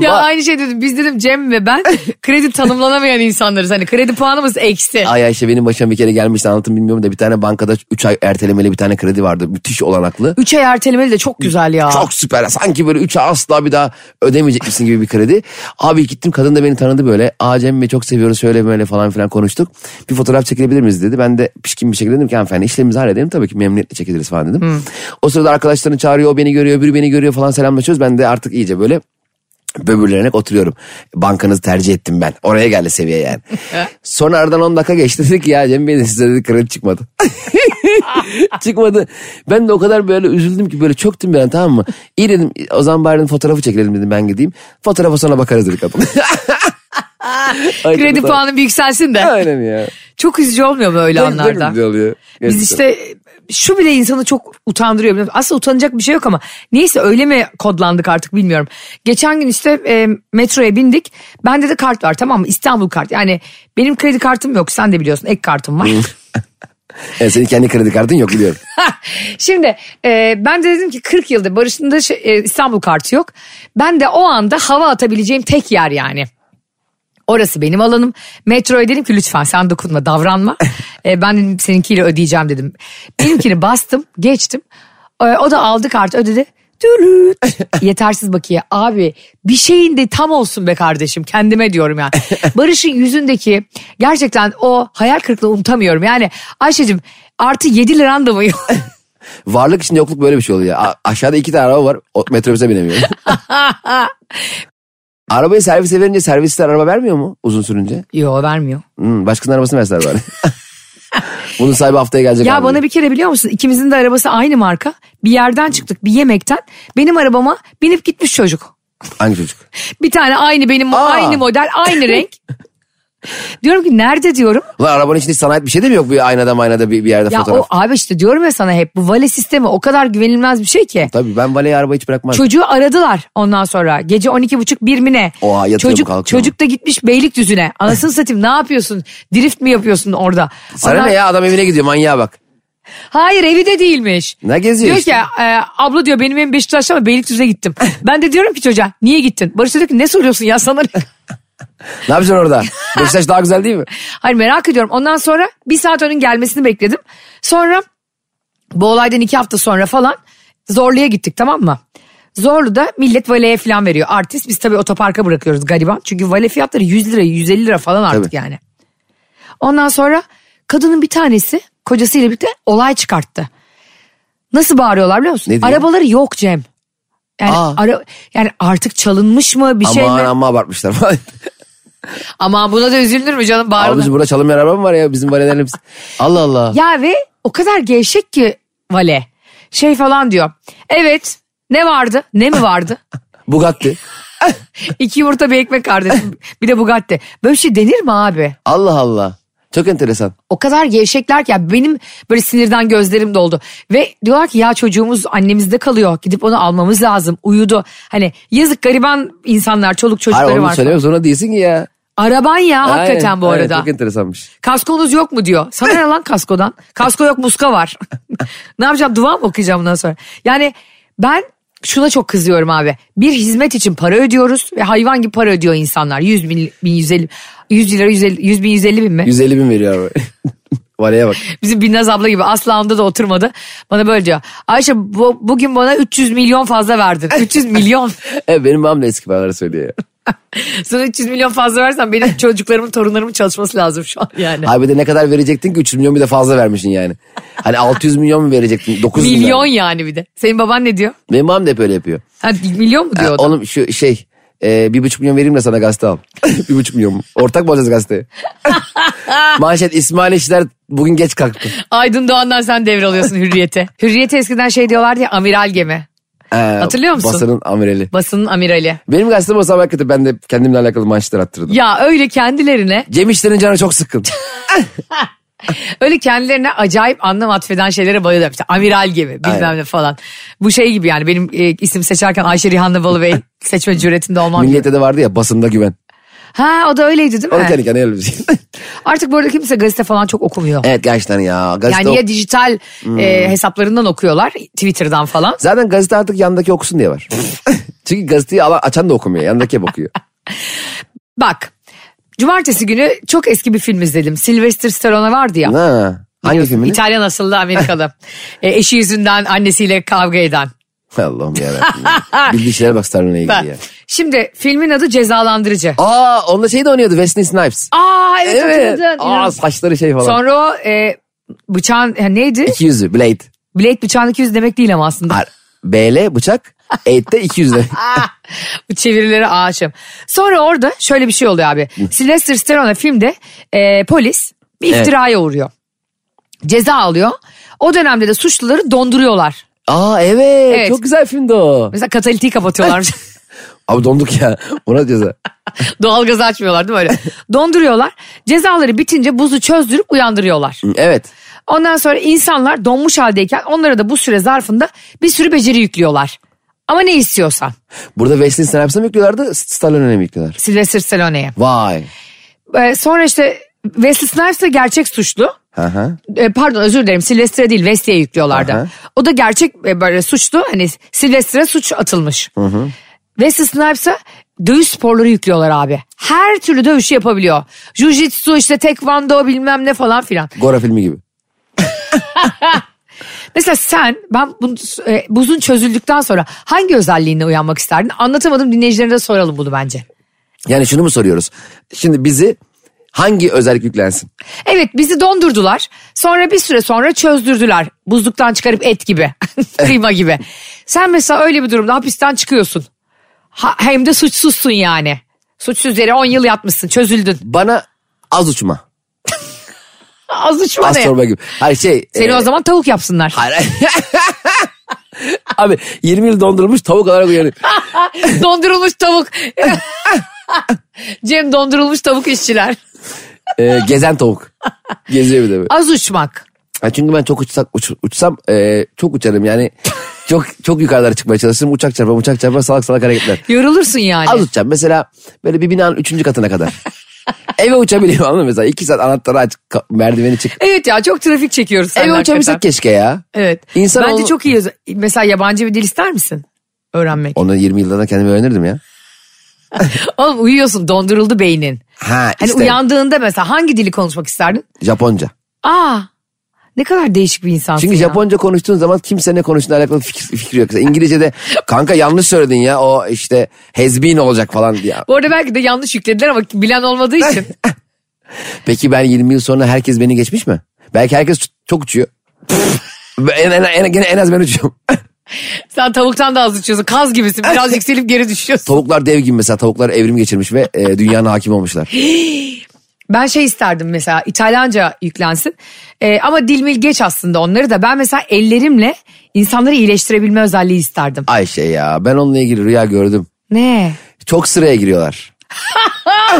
[SPEAKER 2] Ya
[SPEAKER 3] Va-
[SPEAKER 2] aynı şey dedim. Biz dedim Cem ve ben kredi tanımlanamayan insanlarız. Hani kredi puanımız eksi.
[SPEAKER 3] Ay Ayşe benim başıma bir kere gelmişti anlatım bilmiyorum da bir tane bankada 3 ay ertelemeli bir tane kredi vardı. Müthiş olanaklı.
[SPEAKER 2] Üç ay ertelemeli de çok güzel ya.
[SPEAKER 3] Çok süper. Sanki böyle 3 ay asla bir daha ödemeyecekmişsin gibi bir kredi. Abi gittim kadın da beni tanıdı böyle. Aa Cem Bey çok seviyoruz şöyle böyle falan filan konuştuk. Bir fotoğraf çekilebilir miyiz dedi. Ben de pişkin bir şekilde dedim ki hanımefendi işlemimizi halledelim tabii ki memnuniyetle çekiliriz falan dedim. O sırada arkadaşlarını çağırıyor o beni görüyor öbürü beni görüyor falan selamlaşıyoruz. Ben de artık iyice böyle böbürlenerek oturuyorum. Bankanızı tercih ettim ben. Oraya geldi seviye yani. Sonra aradan 10 dakika geçti. Dedi ki ya Cem Bey de size dedi kredi çıkmadı. çıkmadı. Ben de o kadar böyle üzüldüm ki böyle çöktüm ben tamam mı? İyi dedim o zaman bari dedim fotoğrafı çekelim dedim ben gideyim. Fotoğrafa sonra bakarız dedi kadın. Ay,
[SPEAKER 2] Kredi
[SPEAKER 3] kadın-
[SPEAKER 2] puanım bir yükselsin de.
[SPEAKER 3] Aynen ya.
[SPEAKER 2] Çok üzücü olmuyor mu öyle
[SPEAKER 3] Çok- çok
[SPEAKER 2] anlarda?
[SPEAKER 3] güzel şey oluyor.
[SPEAKER 2] Biz
[SPEAKER 3] Gerçekten.
[SPEAKER 2] işte şu bile insanı çok utandırıyor. biliyor musun? Aslında utanacak bir şey yok ama neyse öyle mi kodlandık artık bilmiyorum. Geçen gün işte e, metroya bindik. Bende de kart var tamam mı? İstanbul kart. Yani benim kredi kartım yok. Sen de biliyorsun ek kartım var.
[SPEAKER 3] Evet, senin kendi kredi kartın yok biliyorum.
[SPEAKER 2] Şimdi e, ben de dedim ki 40 yıldır Barış'ın da şey- e, İstanbul kartı yok. Ben de o anda hava atabileceğim tek yer yani. Orası benim alanım. Metroya dedim ki lütfen sen dokunma davranma. E, ben dedim, seninkiyle ödeyeceğim dedim. Benimkini bastım geçtim. E, o da aldı kartı ödedi. Dülüt. Yetersiz bakiye. Abi bir şeyin de tam olsun be kardeşim kendime diyorum yani. Barış'ın yüzündeki gerçekten o hayal kırıklığı unutamıyorum. Yani Ayşe'cim artı 7 liran da mı yok?
[SPEAKER 3] Varlık için yokluk böyle bir şey oluyor. A- aşağıda iki tane araba var. O, metrobüse binemiyorum. Arabayı servise verince servisler araba vermiyor mu uzun sürünce?
[SPEAKER 2] Yo vermiyor.
[SPEAKER 3] Hmm, başkasının arabasını verseler bari. Bunun sahibi haftaya gelecek.
[SPEAKER 2] Ya
[SPEAKER 3] abi.
[SPEAKER 2] bana bir kere biliyor musun ikimizin de arabası aynı marka. Bir yerden çıktık bir yemekten. Benim arabama binip gitmiş çocuk.
[SPEAKER 3] Hangi çocuk?
[SPEAKER 2] Bir tane aynı benim
[SPEAKER 3] Aa.
[SPEAKER 2] aynı model aynı renk. diyorum ki nerede diyorum.
[SPEAKER 3] Ulan arabanın içinde hiç sanayet bir şey de mi yok? Bir aynada maynada bir, bir yerde
[SPEAKER 2] Ya
[SPEAKER 3] fotoğraf.
[SPEAKER 2] o abi işte diyorum ya sana hep bu vale sistemi o kadar güvenilmez bir şey ki.
[SPEAKER 3] Tabii ben valeye araba hiç bırakmaz.
[SPEAKER 2] Çocuğu aradılar ondan sonra. Gece 12.30 1 mi ne?
[SPEAKER 3] Oha, yatıyor mu,
[SPEAKER 2] çocuk,
[SPEAKER 3] kalkıyor mu?
[SPEAKER 2] çocuk da gitmiş Beylikdüzü'ne. Anasını satayım ne yapıyorsun? Drift mi yapıyorsun orada?
[SPEAKER 3] Sana
[SPEAKER 2] Ondan-
[SPEAKER 3] ne ya adam evine gidiyor manyağa bak.
[SPEAKER 2] Hayır evi de değilmiş.
[SPEAKER 3] Ne geziyor
[SPEAKER 2] Diyor
[SPEAKER 3] işte?
[SPEAKER 2] ki e, abla diyor benim evim Beşiktaş'ta ama Beylikdüzü'ne gittim. ben de diyorum ki çocuğa niye gittin? Barış da diyor ki ne soruyorsun ya sana? ne?"
[SPEAKER 3] Ne yapacaksın orada? Beşiktaş daha güzel değil mi?
[SPEAKER 2] Hayır merak ediyorum. Ondan sonra bir saat onun gelmesini bekledim. Sonra bu olaydan iki hafta sonra falan Zorlu'ya gittik tamam mı? Zorlu'da millet valeye falan veriyor. Artist biz tabii otoparka bırakıyoruz gariban. Çünkü vale fiyatları 100 lira 150 lira falan artık
[SPEAKER 3] Tabii.
[SPEAKER 2] yani. Ondan sonra kadının bir tanesi kocasıyla birlikte olay çıkarttı. Nasıl bağırıyorlar biliyor musun?
[SPEAKER 3] Ne diyor?
[SPEAKER 2] Arabaları yok Cem.
[SPEAKER 3] Aa.
[SPEAKER 2] Yani, ara, yani artık çalınmış mı bir şey mi?
[SPEAKER 3] aman amma abartmışlar falan.
[SPEAKER 2] Ama buna da üzülür mü canım bağırdı.
[SPEAKER 3] Abicim burada çalınmayan araba mı var ya bizim valelerin hepsi? Allah Allah.
[SPEAKER 2] Ya ve o kadar gevşek ki vale. Şey falan diyor. Evet ne vardı ne mi vardı?
[SPEAKER 3] Bugatti.
[SPEAKER 2] İki yumurta bir ekmek kardeşim bir de Bugatti. Böyle bir şey denir mi abi?
[SPEAKER 3] Allah Allah. Çok enteresan.
[SPEAKER 2] O kadar gevşekler ki ya benim böyle sinirden gözlerim doldu. Ve diyorlar ki ya çocuğumuz annemizde kalıyor gidip onu almamız lazım uyudu. Hani yazık gariban insanlar çoluk çocukları
[SPEAKER 3] Hayır onu
[SPEAKER 2] var.
[SPEAKER 3] söylemek zorunda değilsin ki ya.
[SPEAKER 2] Araban ya hakikaten
[SPEAKER 3] Aynen,
[SPEAKER 2] bu
[SPEAKER 3] aynen,
[SPEAKER 2] arada.
[SPEAKER 3] Çok enteresanmış.
[SPEAKER 2] Kaskonuz yok mu diyor. Sana ne lan kaskodan? Kasko yok muska var. ne yapacağım dua mı okuyacağım bundan sonra? Yani ben şuna çok kızıyorum abi. Bir hizmet için para ödüyoruz ve hayvan gibi para ödüyor insanlar. 100 bin, bin 150, 100 lira 150, 100 bin 150 bin mi?
[SPEAKER 3] 150 bin veriyor araba. Valeye bak.
[SPEAKER 2] Bizim Binnaz abla gibi asla onda da oturmadı. Bana böyle diyor. Ayşe bu, bugün bana 300 milyon fazla verdin. 300 milyon.
[SPEAKER 3] E, benim babam da eski paraları söylüyor. ya.
[SPEAKER 2] Sana 300 milyon fazla versen benim çocuklarımın torunlarımın çalışması lazım şu an yani.
[SPEAKER 3] Abi de ne kadar verecektin ki 300 milyon bir de fazla vermişsin yani. Hani 600 milyon mu verecektin? 900 mü
[SPEAKER 2] milyon
[SPEAKER 3] verdin?
[SPEAKER 2] yani bir de. Senin baban ne diyor?
[SPEAKER 3] Benim babam da hep öyle yapıyor.
[SPEAKER 2] Ha, milyon mu diyor o da?
[SPEAKER 3] Oğlum şu şey e, bir buçuk milyon vereyim de sana gazete al. bir buçuk milyon mu? Ortak mı olacağız gazeteye? Manşet İsmail İşler bugün geç kalktı.
[SPEAKER 2] Aydın Doğan'dan sen devralıyorsun hürriyete. hürriyete eskiden şey diyorlardı ya amiral gemi.
[SPEAKER 3] Ee,
[SPEAKER 2] Hatırlıyor musun?
[SPEAKER 3] Basının amirali.
[SPEAKER 2] Basının amirali.
[SPEAKER 3] Benim gazetem o sabah hakikaten ben de kendimle alakalı manşetler attırdım.
[SPEAKER 2] Ya öyle kendilerine,
[SPEAKER 3] Cem İşler'in canı çok sıkkın.
[SPEAKER 2] öyle kendilerine acayip anlam atfeden şeylere bayılıyor. İşte amiral gemi bilmem
[SPEAKER 3] Aynen.
[SPEAKER 2] ne falan. Bu şey gibi yani benim e, isim seçerken Ayşe Rihanna Balıbey seçme cüretinde olmam. gibi.
[SPEAKER 3] Millette de vardı ya basında güven.
[SPEAKER 2] Ha o da öyleydi değil
[SPEAKER 3] O da
[SPEAKER 2] mi?
[SPEAKER 3] kendi kendine öyle bir şey.
[SPEAKER 2] Artık bu arada kimse gazete falan çok okumuyor.
[SPEAKER 3] evet Hmm. gerçekten ya. Gazete
[SPEAKER 2] Yani
[SPEAKER 3] ok-
[SPEAKER 2] ya dijital e, hesaplarından okuyorlar Twitter'dan falan.
[SPEAKER 3] Zaten gazete artık yandaki okusun diye var. Çünkü gazeteyi alan, açan da okumuyor. Yandaki hep okuyor.
[SPEAKER 2] Bak cumartesi günü çok eski bir film izledim. Sylvester Stallone vardı ya.
[SPEAKER 3] ha, hangi filmini?
[SPEAKER 2] İtalyan asıllı Amerikalı. E, eşi yüzünden annesiyle kavga eden.
[SPEAKER 3] Allah'ım yarabbim. ya. Bildiği işlere bak Starlin'e
[SPEAKER 2] Ben-
[SPEAKER 3] ilgili ya.
[SPEAKER 2] Şimdi filmin adı Cezalandırıcı.
[SPEAKER 3] Aa onda şey de oynuyordu Wesley Snipes.
[SPEAKER 2] Aa evet, hatırladın.
[SPEAKER 3] Aa
[SPEAKER 2] İnan-
[SPEAKER 3] saçları şey falan.
[SPEAKER 2] Sonra o e, bıçağın ya neydi?
[SPEAKER 3] İki yüzü Blade.
[SPEAKER 2] Blade bıçağın 200 demek değil ama aslında.
[SPEAKER 3] Har- BL bıçak. Eight'te 200 de.
[SPEAKER 2] Bu çevirilere aşığım. Sonra orada şöyle bir şey oluyor abi. Sylvester Stallone filmde e, polis bir
[SPEAKER 3] Evet.
[SPEAKER 2] iftiraya uğruyor. Ceza alıyor. O dönemde de suçluları donduruyorlar.
[SPEAKER 3] Aa evet,
[SPEAKER 2] Evet.
[SPEAKER 3] Çok güzel filmdi o.
[SPEAKER 2] Mesela katalitiği kapatıyorlar.
[SPEAKER 3] Abi donduk ya. Ona ceza.
[SPEAKER 2] Doğalgazı açmıyorlar değil mi öyle? Donduruyorlar. Cezaları bitince buzu çözdürüp uyandırıyorlar.
[SPEAKER 3] Evet.
[SPEAKER 2] Ondan sonra insanlar donmuş haldeyken onlara da bu süre zarfında bir sürü beceri yüklüyorlar. Ama ne istiyorsan.
[SPEAKER 3] Burada Wesley Snipes'e mi yüklüyorlardı? Stallone'e mi yüklüyorlar?
[SPEAKER 2] Sylvester Stallone'ye.
[SPEAKER 3] Vay.
[SPEAKER 2] Ee, sonra işte Wesley Snipes de gerçek suçlu.
[SPEAKER 3] Hı hı.
[SPEAKER 2] Ee, pardon özür dilerim Sylvester'e değil Wesley'e yüklüyorlardı.
[SPEAKER 3] Aha.
[SPEAKER 2] O da gerçek e, böyle suçlu. Hani Sylvester'e suç atılmış. Wesley Snipes'a dövüş sporları yüklüyorlar abi. Her türlü dövüşü yapabiliyor. Jiu-jitsu işte tekvando bilmem ne falan filan.
[SPEAKER 3] Gora filmi gibi.
[SPEAKER 2] Mesela sen ben bunu, e, buzun çözüldükten sonra hangi özelliğine uyanmak isterdin? Anlatamadım dinleyicilerine de soralım bunu bence.
[SPEAKER 3] Yani şunu mu soruyoruz? Şimdi bizi hangi özellik yüklensin?
[SPEAKER 2] Evet bizi dondurdular. Sonra bir süre sonra çözdürdüler. Buzluktan çıkarıp et gibi. Kıyma gibi. Sen mesela öyle bir durumda hapisten çıkıyorsun. Ha- hem de suçsuzsun yani. Suçsuz yere 10 yıl yatmışsın çözüldün.
[SPEAKER 3] Bana az uçma.
[SPEAKER 2] Az uçma
[SPEAKER 3] Az
[SPEAKER 2] ne?
[SPEAKER 3] çorba gibi. Hayır şey.
[SPEAKER 2] Seni
[SPEAKER 3] e,
[SPEAKER 2] o zaman tavuk yapsınlar.
[SPEAKER 3] hayır. Abi 20 yıl dondurulmuş tavuk olarak uyanıyor.
[SPEAKER 2] dondurulmuş tavuk. Cem dondurulmuş tavuk işçiler.
[SPEAKER 3] E, gezen tavuk. Geziyor bir de böyle.
[SPEAKER 2] Az uçmak.
[SPEAKER 3] Ha, çünkü ben çok uçsak, uç- uçsam e, çok uçarım yani. Çok çok yukarılara çıkmaya çalışırım. Uçak çarpar, uçak çarpar, salak salak hareketler.
[SPEAKER 2] Yorulursun yani.
[SPEAKER 3] Az uçacağım. Mesela böyle bir binanın üçüncü katına kadar. Eve uçabiliyorum anladın mı? Mesela iki saat anahtarı aç, ka- merdiveni çık.
[SPEAKER 2] Evet ya çok trafik çekiyoruz. seninle
[SPEAKER 3] Eve
[SPEAKER 2] hakikaten.
[SPEAKER 3] uçabilsek keşke ya.
[SPEAKER 2] Evet.
[SPEAKER 3] İnsan
[SPEAKER 2] Bence
[SPEAKER 3] ol-
[SPEAKER 2] çok iyi. Mesela yabancı bir dil ister misin? Öğrenmek.
[SPEAKER 3] Onu 20 yıldan da kendimi öğrenirdim ya.
[SPEAKER 2] Oğlum uyuyorsun donduruldu beynin.
[SPEAKER 3] Ha
[SPEAKER 2] Hani
[SPEAKER 3] işte
[SPEAKER 2] uyandığında mesela hangi dili konuşmak isterdin?
[SPEAKER 3] Japonca.
[SPEAKER 2] Aa ne kadar değişik bir insansın
[SPEAKER 3] Çünkü
[SPEAKER 2] ya.
[SPEAKER 3] Japonca konuştuğun zaman kimse ne konuştuğuna alakalı fikir, fikri yok. Mesela İngilizce'de kanka yanlış söyledin ya o işte has been olacak falan diye.
[SPEAKER 2] Bu arada belki de yanlış yüklediler ama bilen olmadığı için.
[SPEAKER 3] Peki ben 20 yıl sonra herkes beni geçmiş mi? Belki herkes çok uçuyor. en, en, en, gene en az ben uçuyorum.
[SPEAKER 2] Sen tavuktan da az uçuyorsun. Kaz gibisin. Biraz yükselip geri düşüyorsun.
[SPEAKER 3] Tavuklar dev gibi mesela tavuklar evrim geçirmiş ve e, dünyanın hakim olmuşlar.
[SPEAKER 2] Ben şey isterdim mesela İtalyanca yüklensin. Ee, ama dil mil geç aslında onları da. Ben mesela ellerimle insanları iyileştirebilme özelliği isterdim.
[SPEAKER 3] Ayşe ya ben onunla ilgili rüya gördüm.
[SPEAKER 2] Ne?
[SPEAKER 3] Çok sıraya giriyorlar.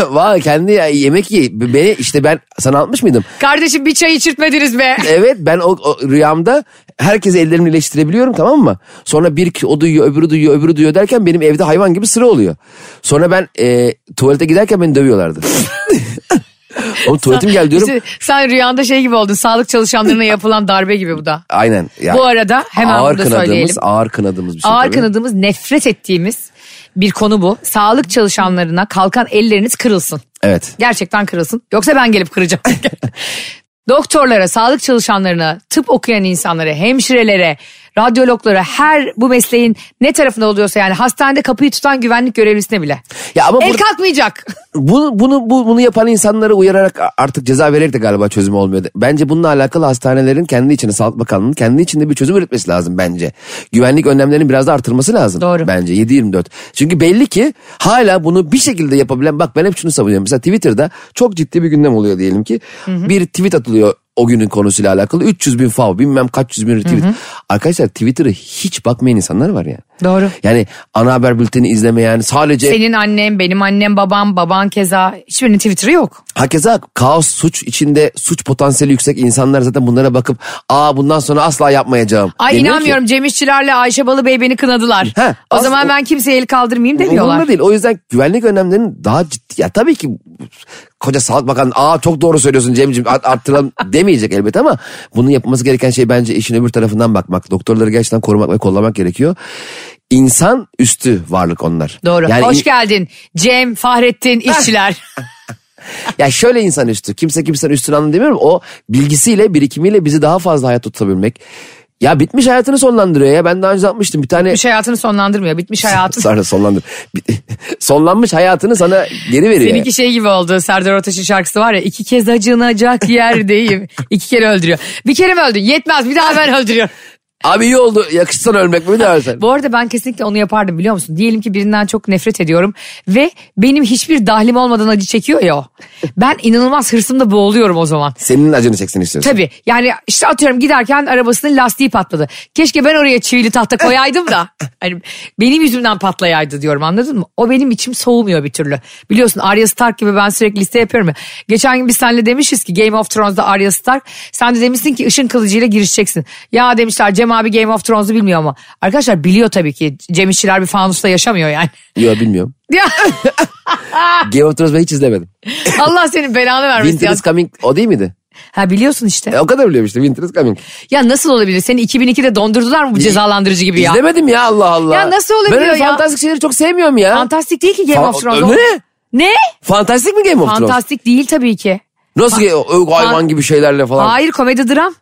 [SPEAKER 3] Vallahi kendi ya, yemek ye. Beni işte ben sana atmış mıydım?
[SPEAKER 2] Kardeşim bir çay içirtmediniz be.
[SPEAKER 3] Evet ben o, o rüyamda herkese ellerimi iyileştirebiliyorum tamam mı? Sonra bir o duyuyor öbürü duyuyor öbürü duyuyor derken benim evde hayvan gibi sıra oluyor. Sonra ben e, tuvalete giderken beni dövüyorlardı. Oğlum tuvaletim geldi diyorum.
[SPEAKER 2] İşte sen rüyanda şey gibi oldun. Sağlık çalışanlarına yapılan darbe gibi bu da.
[SPEAKER 3] Aynen. ya.
[SPEAKER 2] Bu arada hemen
[SPEAKER 3] ağır
[SPEAKER 2] burada
[SPEAKER 3] kınadığımız,
[SPEAKER 2] söyleyelim.
[SPEAKER 3] Ağır kınadığımız bir şey
[SPEAKER 2] Ağır
[SPEAKER 3] tabii.
[SPEAKER 2] kınadığımız, nefret ettiğimiz bir konu bu. Sağlık çalışanlarına kalkan elleriniz kırılsın.
[SPEAKER 3] Evet.
[SPEAKER 2] Gerçekten kırılsın. Yoksa ben gelip kıracağım. Doktorlara, sağlık çalışanlarına, tıp okuyan insanlara, hemşirelere, radyologlara, her bu mesleğin ne tarafında oluyorsa yani hastanede kapıyı tutan güvenlik görevlisine bile.
[SPEAKER 3] Ya ama
[SPEAKER 2] El
[SPEAKER 3] bu-
[SPEAKER 2] kalkmayacak.
[SPEAKER 3] bunu, bunu, bu- bunu yapan insanları uyararak artık ceza vererek de galiba çözüm olmuyor. Bence bununla alakalı hastanelerin kendi içinde Sağlık Bakanlığı'nın kendi içinde bir çözüm üretmesi lazım bence. Güvenlik önlemlerinin biraz da artırması lazım.
[SPEAKER 2] Doğru.
[SPEAKER 3] Bence 7-24. Çünkü belli ki hala bunu bir şekilde yapabilen bak ben hep şunu savunuyorum. Mesela Twitter'da çok ciddi bir gündem oluyor diyelim ki. Bir tweet atılıyor o günün konusuyla alakalı. 300 bin fav bilmem kaç yüz bin retweet. Arkadaşlar Twitter'ı hiç bakmayan insanlar var ya.
[SPEAKER 2] Doğru.
[SPEAKER 3] Yani ana haber bülteni izlemeyen sadece...
[SPEAKER 2] Senin annem, benim annem, babam, baban keza. Hiçbirinin Twitter'ı yok.
[SPEAKER 3] Hakeza kaos suç içinde suç potansiyeli yüksek insanlar zaten bunlara bakıp aa bundan sonra asla yapmayacağım.
[SPEAKER 2] Ay
[SPEAKER 3] demiyor
[SPEAKER 2] inanmıyorum
[SPEAKER 3] ki.
[SPEAKER 2] Cem İşçilerle Ayşe Balıbey beni kınadılar.
[SPEAKER 3] Heh,
[SPEAKER 2] o
[SPEAKER 3] az-
[SPEAKER 2] zaman
[SPEAKER 3] o-
[SPEAKER 2] ben kimseye el kaldırmayayım demiyorlar.
[SPEAKER 3] Umurumda değil. O yüzden güvenlik önlemlerinin daha ciddi. Ya tabii ki koca sağlık bakanı aa çok doğru söylüyorsun Cem'ciğim art- arttıralım demeyecek elbet ama bunun yapılması gereken şey bence işin öbür tarafından bakmak. Doktorları gerçekten korumak ve kollamak gerekiyor. İnsan üstü varlık onlar.
[SPEAKER 2] Doğru.
[SPEAKER 3] Yani
[SPEAKER 2] Hoş
[SPEAKER 3] in-
[SPEAKER 2] geldin Cem, Fahrettin, işçiler.
[SPEAKER 3] Ya şöyle insan üstü. Kimse kimsenin üstünü anlamı demiyorum. O bilgisiyle, birikimiyle bizi daha fazla hayatta tutabilmek. Ya bitmiş hayatını sonlandırıyor ya. Ben daha önce atmıştım bir tane...
[SPEAKER 2] Bitmiş hayatını sonlandırmıyor. Bitmiş hayatı.
[SPEAKER 3] Sonra sonlandır. Bi- Sonlanmış hayatını sana geri veriyor.
[SPEAKER 2] Seninki şey gibi oldu. Serdar Ortaç'ın şarkısı var ya. iki kez acınacak yerdeyim. İki kere öldürüyor. Bir kere mi öldün? Yetmez bir daha ben öldürüyorum.
[SPEAKER 3] Abi iyi oldu. Yakışsan ölmek mi dersen.
[SPEAKER 2] Bu arada ben kesinlikle onu yapardım biliyor musun? Diyelim ki birinden çok nefret ediyorum. Ve benim hiçbir dahlim olmadan acı çekiyor ya o. Ben inanılmaz hırsımda boğuluyorum o zaman.
[SPEAKER 3] Senin acını çeksin istiyorsun.
[SPEAKER 2] Tabii yani işte atıyorum giderken arabasının lastiği patladı. Keşke ben oraya çivili tahta koyaydım da. Hani benim yüzümden patlayaydı diyorum anladın mı? O benim içim soğumuyor bir türlü. Biliyorsun Arya Stark gibi ben sürekli liste yapıyorum ya. Geçen gün biz seninle demişiz ki Game of Thrones'da Arya Stark. Sen de demişsin ki ışın kılıcıyla girişeceksin. Ya demişler Cem abi Game of Thrones'u bilmiyor ama. Arkadaşlar biliyor tabii ki. Cem İşçiler bir fanusta yaşamıyor yani.
[SPEAKER 3] Yok bilmiyorum.
[SPEAKER 2] Ya,
[SPEAKER 3] Game of Thrones ben hiç izlemedim.
[SPEAKER 2] Allah senin belanı vermesin.
[SPEAKER 3] Winter
[SPEAKER 2] ya.
[SPEAKER 3] is Coming o değil miydi?
[SPEAKER 2] Ha biliyorsun işte.
[SPEAKER 3] E, o kadar biliyorum işte Winter is Coming.
[SPEAKER 2] Ya nasıl olabilir? Seni 2002'de dondurdular mı bu cezalandırıcı gibi ya?
[SPEAKER 3] İzlemedim ya Allah Allah.
[SPEAKER 2] Ya nasıl olabiliyor
[SPEAKER 3] Ben öyle
[SPEAKER 2] ya?
[SPEAKER 3] fantastik şeyleri çok sevmiyorum ya.
[SPEAKER 2] Fantastik değil ki Game
[SPEAKER 3] Fa-
[SPEAKER 2] of Thrones.
[SPEAKER 3] Ne?
[SPEAKER 2] Ne?
[SPEAKER 3] Fantastik mi Game of Thrones?
[SPEAKER 2] Fantastik değil tabii ki.
[SPEAKER 3] Nasıl ge- o- o hayvan gibi şeylerle falan.
[SPEAKER 2] Hayır komedi dram.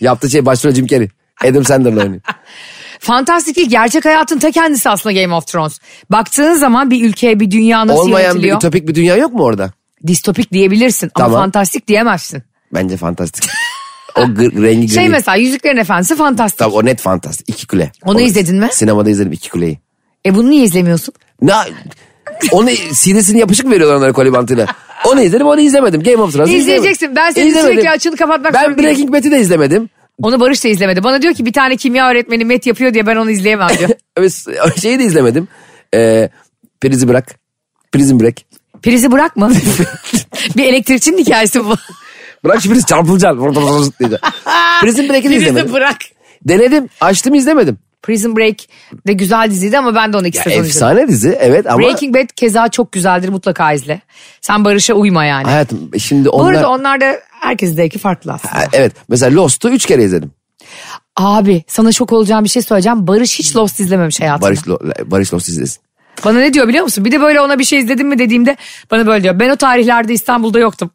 [SPEAKER 3] Yaptığı şey başrol Jim Carrey. Adam Sandler'la oynuyor.
[SPEAKER 2] Fantastik değil gerçek hayatın ta kendisi aslında Game of Thrones. Baktığın zaman bir ülkeye bir dünya nasıl
[SPEAKER 3] Olmayan bir
[SPEAKER 2] yönetiliyor.
[SPEAKER 3] ütopik bir dünya yok mu orada?
[SPEAKER 2] Distopik diyebilirsin ama
[SPEAKER 3] Tamam.
[SPEAKER 2] fantastik diyemezsin.
[SPEAKER 3] Bence fantastik. o gır- rengi gri.
[SPEAKER 2] Şey mesela Yüzüklerin Efendisi fantastik.
[SPEAKER 3] Tabii o net fantastik. İki kule.
[SPEAKER 2] Onu izledin mi?
[SPEAKER 3] Sinemada izledim iki kuleyi.
[SPEAKER 2] E bunu niye izlemiyorsun?
[SPEAKER 3] Ne? Onu CD'sini yapışık mı veriyorlar onlara koli bantıyla? Onu izledim onu izlemedim. Game of Thrones'u izlemedim.
[SPEAKER 2] İzleyeceksin. Ben seni
[SPEAKER 3] İzlemedim.
[SPEAKER 2] sürekli açını kapatmak
[SPEAKER 3] Ben
[SPEAKER 2] zorundayım.
[SPEAKER 3] Breaking Bad'i de izlemedim.
[SPEAKER 2] Onu Barış da izlemedi. Bana diyor ki bir tane kimya öğretmeni met yapıyor diye ben onu izleyemem diyor.
[SPEAKER 3] Biz- Şeyi de izlemedim. Ee, prizi bırak. Prison Break.
[SPEAKER 2] Prizi bırakma. bir elektrikçinin hikayesi bu.
[SPEAKER 3] Bırak şu priz çarpılacaksın. Vur, vur, vur, vur diyeceksin. Prison Break'ini
[SPEAKER 2] Prizi
[SPEAKER 3] izlemedim.
[SPEAKER 2] bırak.
[SPEAKER 3] Denedim. Açtım izlemedim.
[SPEAKER 2] Prison Break de güzel diziydi ama ben de onu iki sezon izledim.
[SPEAKER 3] Efsane dizi evet ama
[SPEAKER 2] Breaking Bad keza çok güzeldir mutlaka izle. Sen Barış'a uyma yani.
[SPEAKER 3] hayatım şimdi
[SPEAKER 2] Bu
[SPEAKER 3] onlar...
[SPEAKER 2] arada onlar da herkesin zevki farklı aslında.
[SPEAKER 3] Ha, Evet mesela Lost'u 3 kere izledim.
[SPEAKER 2] Abi sana şok olacağım bir şey söyleyeceğim. Barış hiç Lost izlememiş hayatında.
[SPEAKER 3] Barış, Lo- Barış Lost izlesin.
[SPEAKER 2] Bana ne diyor biliyor musun? Bir de böyle ona bir şey izledim mi dediğimde bana böyle diyor. Ben o tarihlerde İstanbul'da yoktum.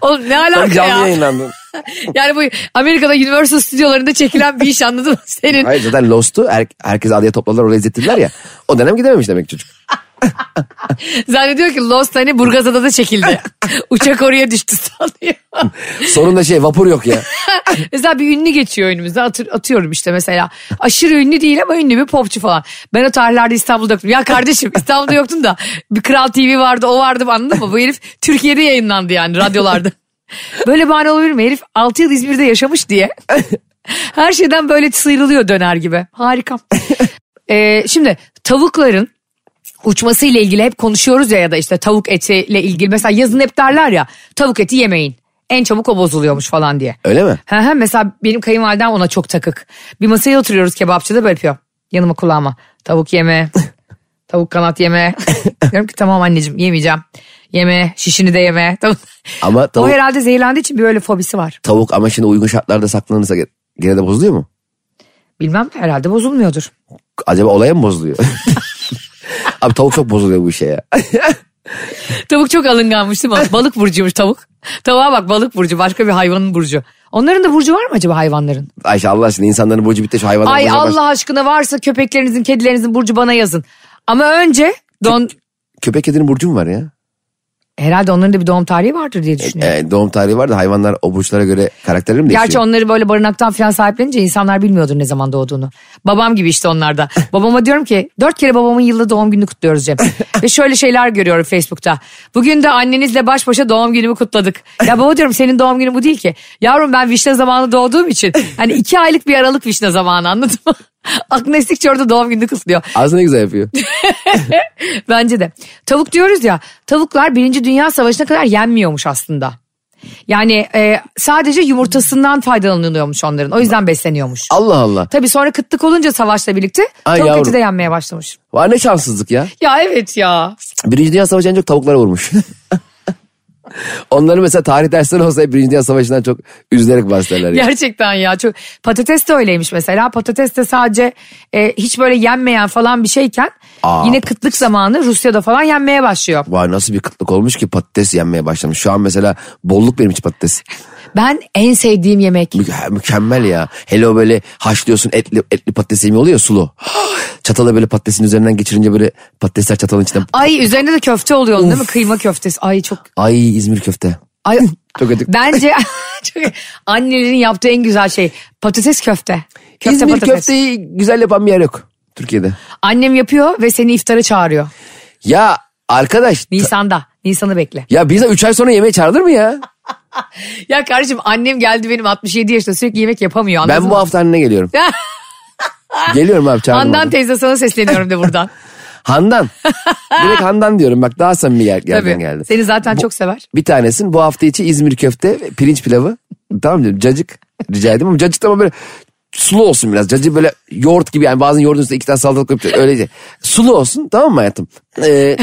[SPEAKER 2] Oğlum ne
[SPEAKER 3] Ben
[SPEAKER 2] alaka
[SPEAKER 3] canlı
[SPEAKER 2] ya?
[SPEAKER 3] yayınlandım.
[SPEAKER 2] Yani bu Amerika'da Universal stüdyolarında çekilen bir iş anladın mı senin?
[SPEAKER 3] Hayır zaten Lost'u her, herkes adaya topladılar oraya izlettiler ya. O dönem gidememiş demek çocuk.
[SPEAKER 2] Zannediyor ki Lost hani Burgazada'da çekildi. Uçak oraya düştü sanıyor.
[SPEAKER 3] Sorun da şey vapur yok ya.
[SPEAKER 2] mesela bir ünlü geçiyor önümüzde Atır- atıyorum işte mesela. Aşırı ünlü değil ama ünlü bir popçu falan. Ben o tarihlerde İstanbul'da yoktum. Ya kardeşim İstanbul'da yoktun da bir Kral TV vardı o vardı anladın mı? Bu herif Türkiye'de yayınlandı yani radyolarda. Böyle bahane olabilir mi? Herif 6 yıl İzmir'de yaşamış diye. Her şeyden böyle sıyrılıyor döner gibi. Harika. Ee, şimdi tavukların uçması ile ilgili hep konuşuyoruz ya ya da işte tavuk etiyle ilgili. Mesela yazın hep derler ya tavuk eti yemeyin. En çabuk o bozuluyormuş falan diye.
[SPEAKER 3] Öyle mi?
[SPEAKER 2] Hı hı, mesela benim kayınvalidem ona çok takık. Bir masaya oturuyoruz kebapçıda böyle yapıyor. Yanıma kulağıma. Tavuk yeme. tavuk kanat yeme. Diyorum ki tamam anneciğim yemeyeceğim. Yeme şişini de yeme. Tamam.
[SPEAKER 3] Ama
[SPEAKER 2] O
[SPEAKER 3] tavuk,
[SPEAKER 2] herhalde zehirlendiği için bir öyle fobisi var.
[SPEAKER 3] tavuk ama şimdi uygun şartlarda saklanırsa ge- gene de bozuluyor mu?
[SPEAKER 2] Bilmem herhalde bozulmuyordur.
[SPEAKER 3] Acaba olaya mı bozuluyor? Abi tavuk çok bozuluyor bu işe ya.
[SPEAKER 2] Tavuk çok alınganmış değil mi? Balık burcuymuş tavuk. Tavuğa bak balık burcu başka bir hayvanın burcu. Onların da burcu var mı acaba hayvanların?
[SPEAKER 3] Ayşe Allah aşkına insanların burcu bitti şu hayvanların
[SPEAKER 2] Ay
[SPEAKER 3] burcuna baş-
[SPEAKER 2] Allah aşkına varsa köpeklerinizin kedilerinizin burcu bana yazın. Ama önce don...
[SPEAKER 3] Köpek kedinin burcu mu var ya?
[SPEAKER 2] Herhalde onların da bir doğum tarihi vardır diye düşünüyorum.
[SPEAKER 3] Ee, doğum tarihi var da hayvanlar o burçlara göre karakterleri mi değişiyor?
[SPEAKER 2] Gerçi onları böyle barınaktan falan sahiplenince insanlar bilmiyordur ne zaman doğduğunu. Babam gibi işte onlarda. Babama diyorum ki dört kere babamın yılda doğum gününü kutluyoruz Cem. Ve şöyle şeyler görüyorum Facebook'ta. Bugün de annenizle baş başa doğum günümü kutladık. Ya baba diyorum senin doğum günün bu değil ki. Yavrum ben vişne zamanı doğduğum için. Hani iki aylık bir aralık vişne zamanı anladın mı? Aklına estikçe orada doğum gününü kutluyor.
[SPEAKER 3] Ağzı ne güzel yapıyor.
[SPEAKER 2] Bence de. Tavuk diyoruz ya tavuklar Birinci Dünya Savaşı'na kadar yenmiyormuş aslında. Yani e, sadece yumurtasından faydalanılıyormuş onların. O yüzden besleniyormuş.
[SPEAKER 3] Allah Allah.
[SPEAKER 2] Tabii sonra kıtlık olunca savaşla birlikte
[SPEAKER 3] Ay
[SPEAKER 2] tavuk
[SPEAKER 3] yavrum.
[SPEAKER 2] eti de yenmeye başlamış.
[SPEAKER 3] Var ne şanssızlık ya.
[SPEAKER 2] Ya evet ya.
[SPEAKER 3] Birinci Dünya Savaşı en çok tavuklara vurmuş. Onları mesela tarih dersleri olsa hep Birinci Dünya Savaşı'ndan çok üzülerek bahsederler. ya.
[SPEAKER 2] Gerçekten ya. Çok... Patates de öyleymiş mesela. Patates de sadece e, hiç böyle yenmeyen falan bir şeyken
[SPEAKER 3] Aa,
[SPEAKER 2] yine kıtlık zamanı Rusya'da falan yenmeye başlıyor.
[SPEAKER 3] Vay nasıl bir kıtlık olmuş ki patates yenmeye başlamış. Şu an mesela bolluk benim için patates.
[SPEAKER 2] Ben en sevdiğim yemek.
[SPEAKER 3] Mü- mükemmel ya. Hele o böyle haşlıyorsun etli, etli patates yemeği oluyor ya sulu. Çatala böyle patatesin üzerinden geçirince böyle patatesler çatalın içinden.
[SPEAKER 2] Ay üzerine de köfte oluyor onun değil mi? Kıyma köftesi. Ay çok.
[SPEAKER 3] Ay İzmir köfte.
[SPEAKER 2] Ay,
[SPEAKER 3] Çok acık.
[SPEAKER 2] bence çok, annelerin yaptığı en güzel şey patates köfte. Köfte
[SPEAKER 3] İzmir
[SPEAKER 2] patates.
[SPEAKER 3] köfteyi güzel yapan bir yer yok Türkiye'de.
[SPEAKER 2] Annem yapıyor ve seni iftara çağırıyor.
[SPEAKER 3] Ya arkadaş ta-
[SPEAKER 2] Nisan'da. Nisan'ı bekle.
[SPEAKER 3] ya bize 3 ay sonra yemeğe çağırılır mı ya?
[SPEAKER 2] Ya kardeşim annem geldi benim 67 yaşında sürekli yemek yapamıyor. anladın
[SPEAKER 3] Ben
[SPEAKER 2] mı?
[SPEAKER 3] bu hafta annene geliyorum. geliyorum abi çağırdım.
[SPEAKER 2] Handan
[SPEAKER 3] Handan.
[SPEAKER 2] teyze sana sesleniyorum de buradan.
[SPEAKER 3] Handan. Direkt Handan diyorum bak daha samimi gel
[SPEAKER 2] Tabii.
[SPEAKER 3] yerden geldi.
[SPEAKER 2] Seni zaten çok sever.
[SPEAKER 3] Bir tanesin bu hafta içi İzmir köfte ve pirinç pilavı. tamam diyorum cacık rica edeyim ama cacık da ama böyle sulu olsun biraz. Cacık böyle yoğurt gibi yani bazen yoğurdun üstüne iki tane salatalık koyup da öyle sulu olsun tamam mı hayatım? Ee,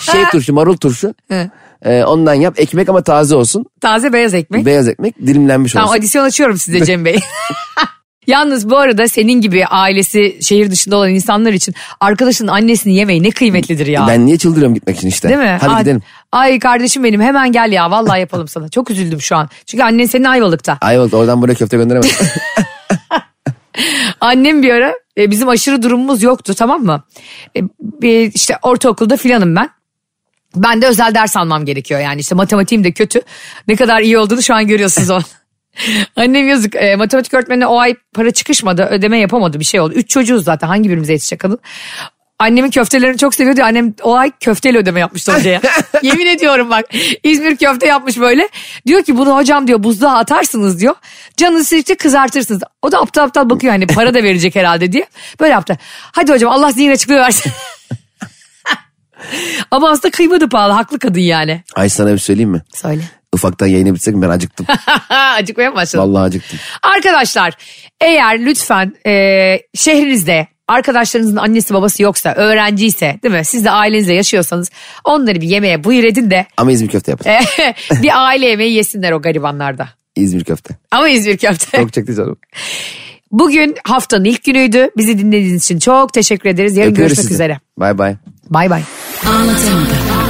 [SPEAKER 3] şey turşu marul turşu. Ee, ondan yap ekmek ama taze olsun.
[SPEAKER 2] Taze beyaz ekmek.
[SPEAKER 3] Beyaz ekmek dilimlenmiş
[SPEAKER 2] tamam
[SPEAKER 3] olsun.
[SPEAKER 2] adisyon açıyorum size Cem Bey. Yalnız bu arada senin gibi ailesi şehir dışında olan insanlar için arkadaşının annesini yemeği ne kıymetlidir ya.
[SPEAKER 3] Ben niye çıldırıyorum gitmek için işte.
[SPEAKER 2] Değil mi?
[SPEAKER 3] Hadi
[SPEAKER 2] Ay-
[SPEAKER 3] gidelim.
[SPEAKER 2] Ay kardeşim benim hemen gel ya vallahi yapalım sana. Çok üzüldüm şu an. Çünkü annen senin Ayvalık'ta.
[SPEAKER 3] Ayvalık'ta oradan buraya köfte gönderemez.
[SPEAKER 2] Annem bir ara e, bizim aşırı durumumuz yoktu tamam mı? E, bir işte ortaokulda filanım ben. Ben de özel ders almam gerekiyor yani işte matematiğim de kötü. Ne kadar iyi olduğunu şu an görüyorsunuz o. Annem yazık e, matematik öğretmenine o ay para çıkışmadı ödeme yapamadı bir şey oldu. Üç çocuğuz zaten hangi birimize yetişecek kadın. Annemin köftelerini çok seviyordu. Annem o ay köfteyle ödeme yapmıştı hocaya. Yemin ediyorum bak İzmir köfte yapmış böyle. Diyor ki bunu hocam diyor buzluğa atarsınız diyor. Canınız sıkıştı kızartırsınız. O da aptal aptal bakıyor hani para da verecek herhalde diye. Böyle yaptı. Hadi hocam Allah zihin açıklığı versin. Ama aslında kıymadı pahalı haklı kadın yani.
[SPEAKER 3] Ay sana bir şey söyleyeyim mi?
[SPEAKER 2] Söyle.
[SPEAKER 3] Ufaktan yayına bitsek mi ben acıktım.
[SPEAKER 2] Acıkmaya mı başladın?
[SPEAKER 3] Vallahi acıktım.
[SPEAKER 2] Arkadaşlar eğer lütfen e, şehrinizde arkadaşlarınızın annesi babası yoksa öğrenciyse değil mi siz de ailenizle yaşıyorsanız onları bir yemeğe buyur edin de
[SPEAKER 3] Ama İzmir köfte yapalım.
[SPEAKER 2] e, bir aile yemeği yesinler o garibanlarda.
[SPEAKER 3] İzmir köfte.
[SPEAKER 2] Ama İzmir köfte.
[SPEAKER 3] Çok çekti canım.
[SPEAKER 2] Bugün haftanın ilk günüydü. Bizi dinlediğiniz için çok teşekkür ederiz. Yarın
[SPEAKER 3] Öpüyoruz
[SPEAKER 2] görüşmek
[SPEAKER 3] sizi.
[SPEAKER 2] üzere.
[SPEAKER 3] Bay bay.
[SPEAKER 2] Bay bay.
[SPEAKER 4] Anlatamadım.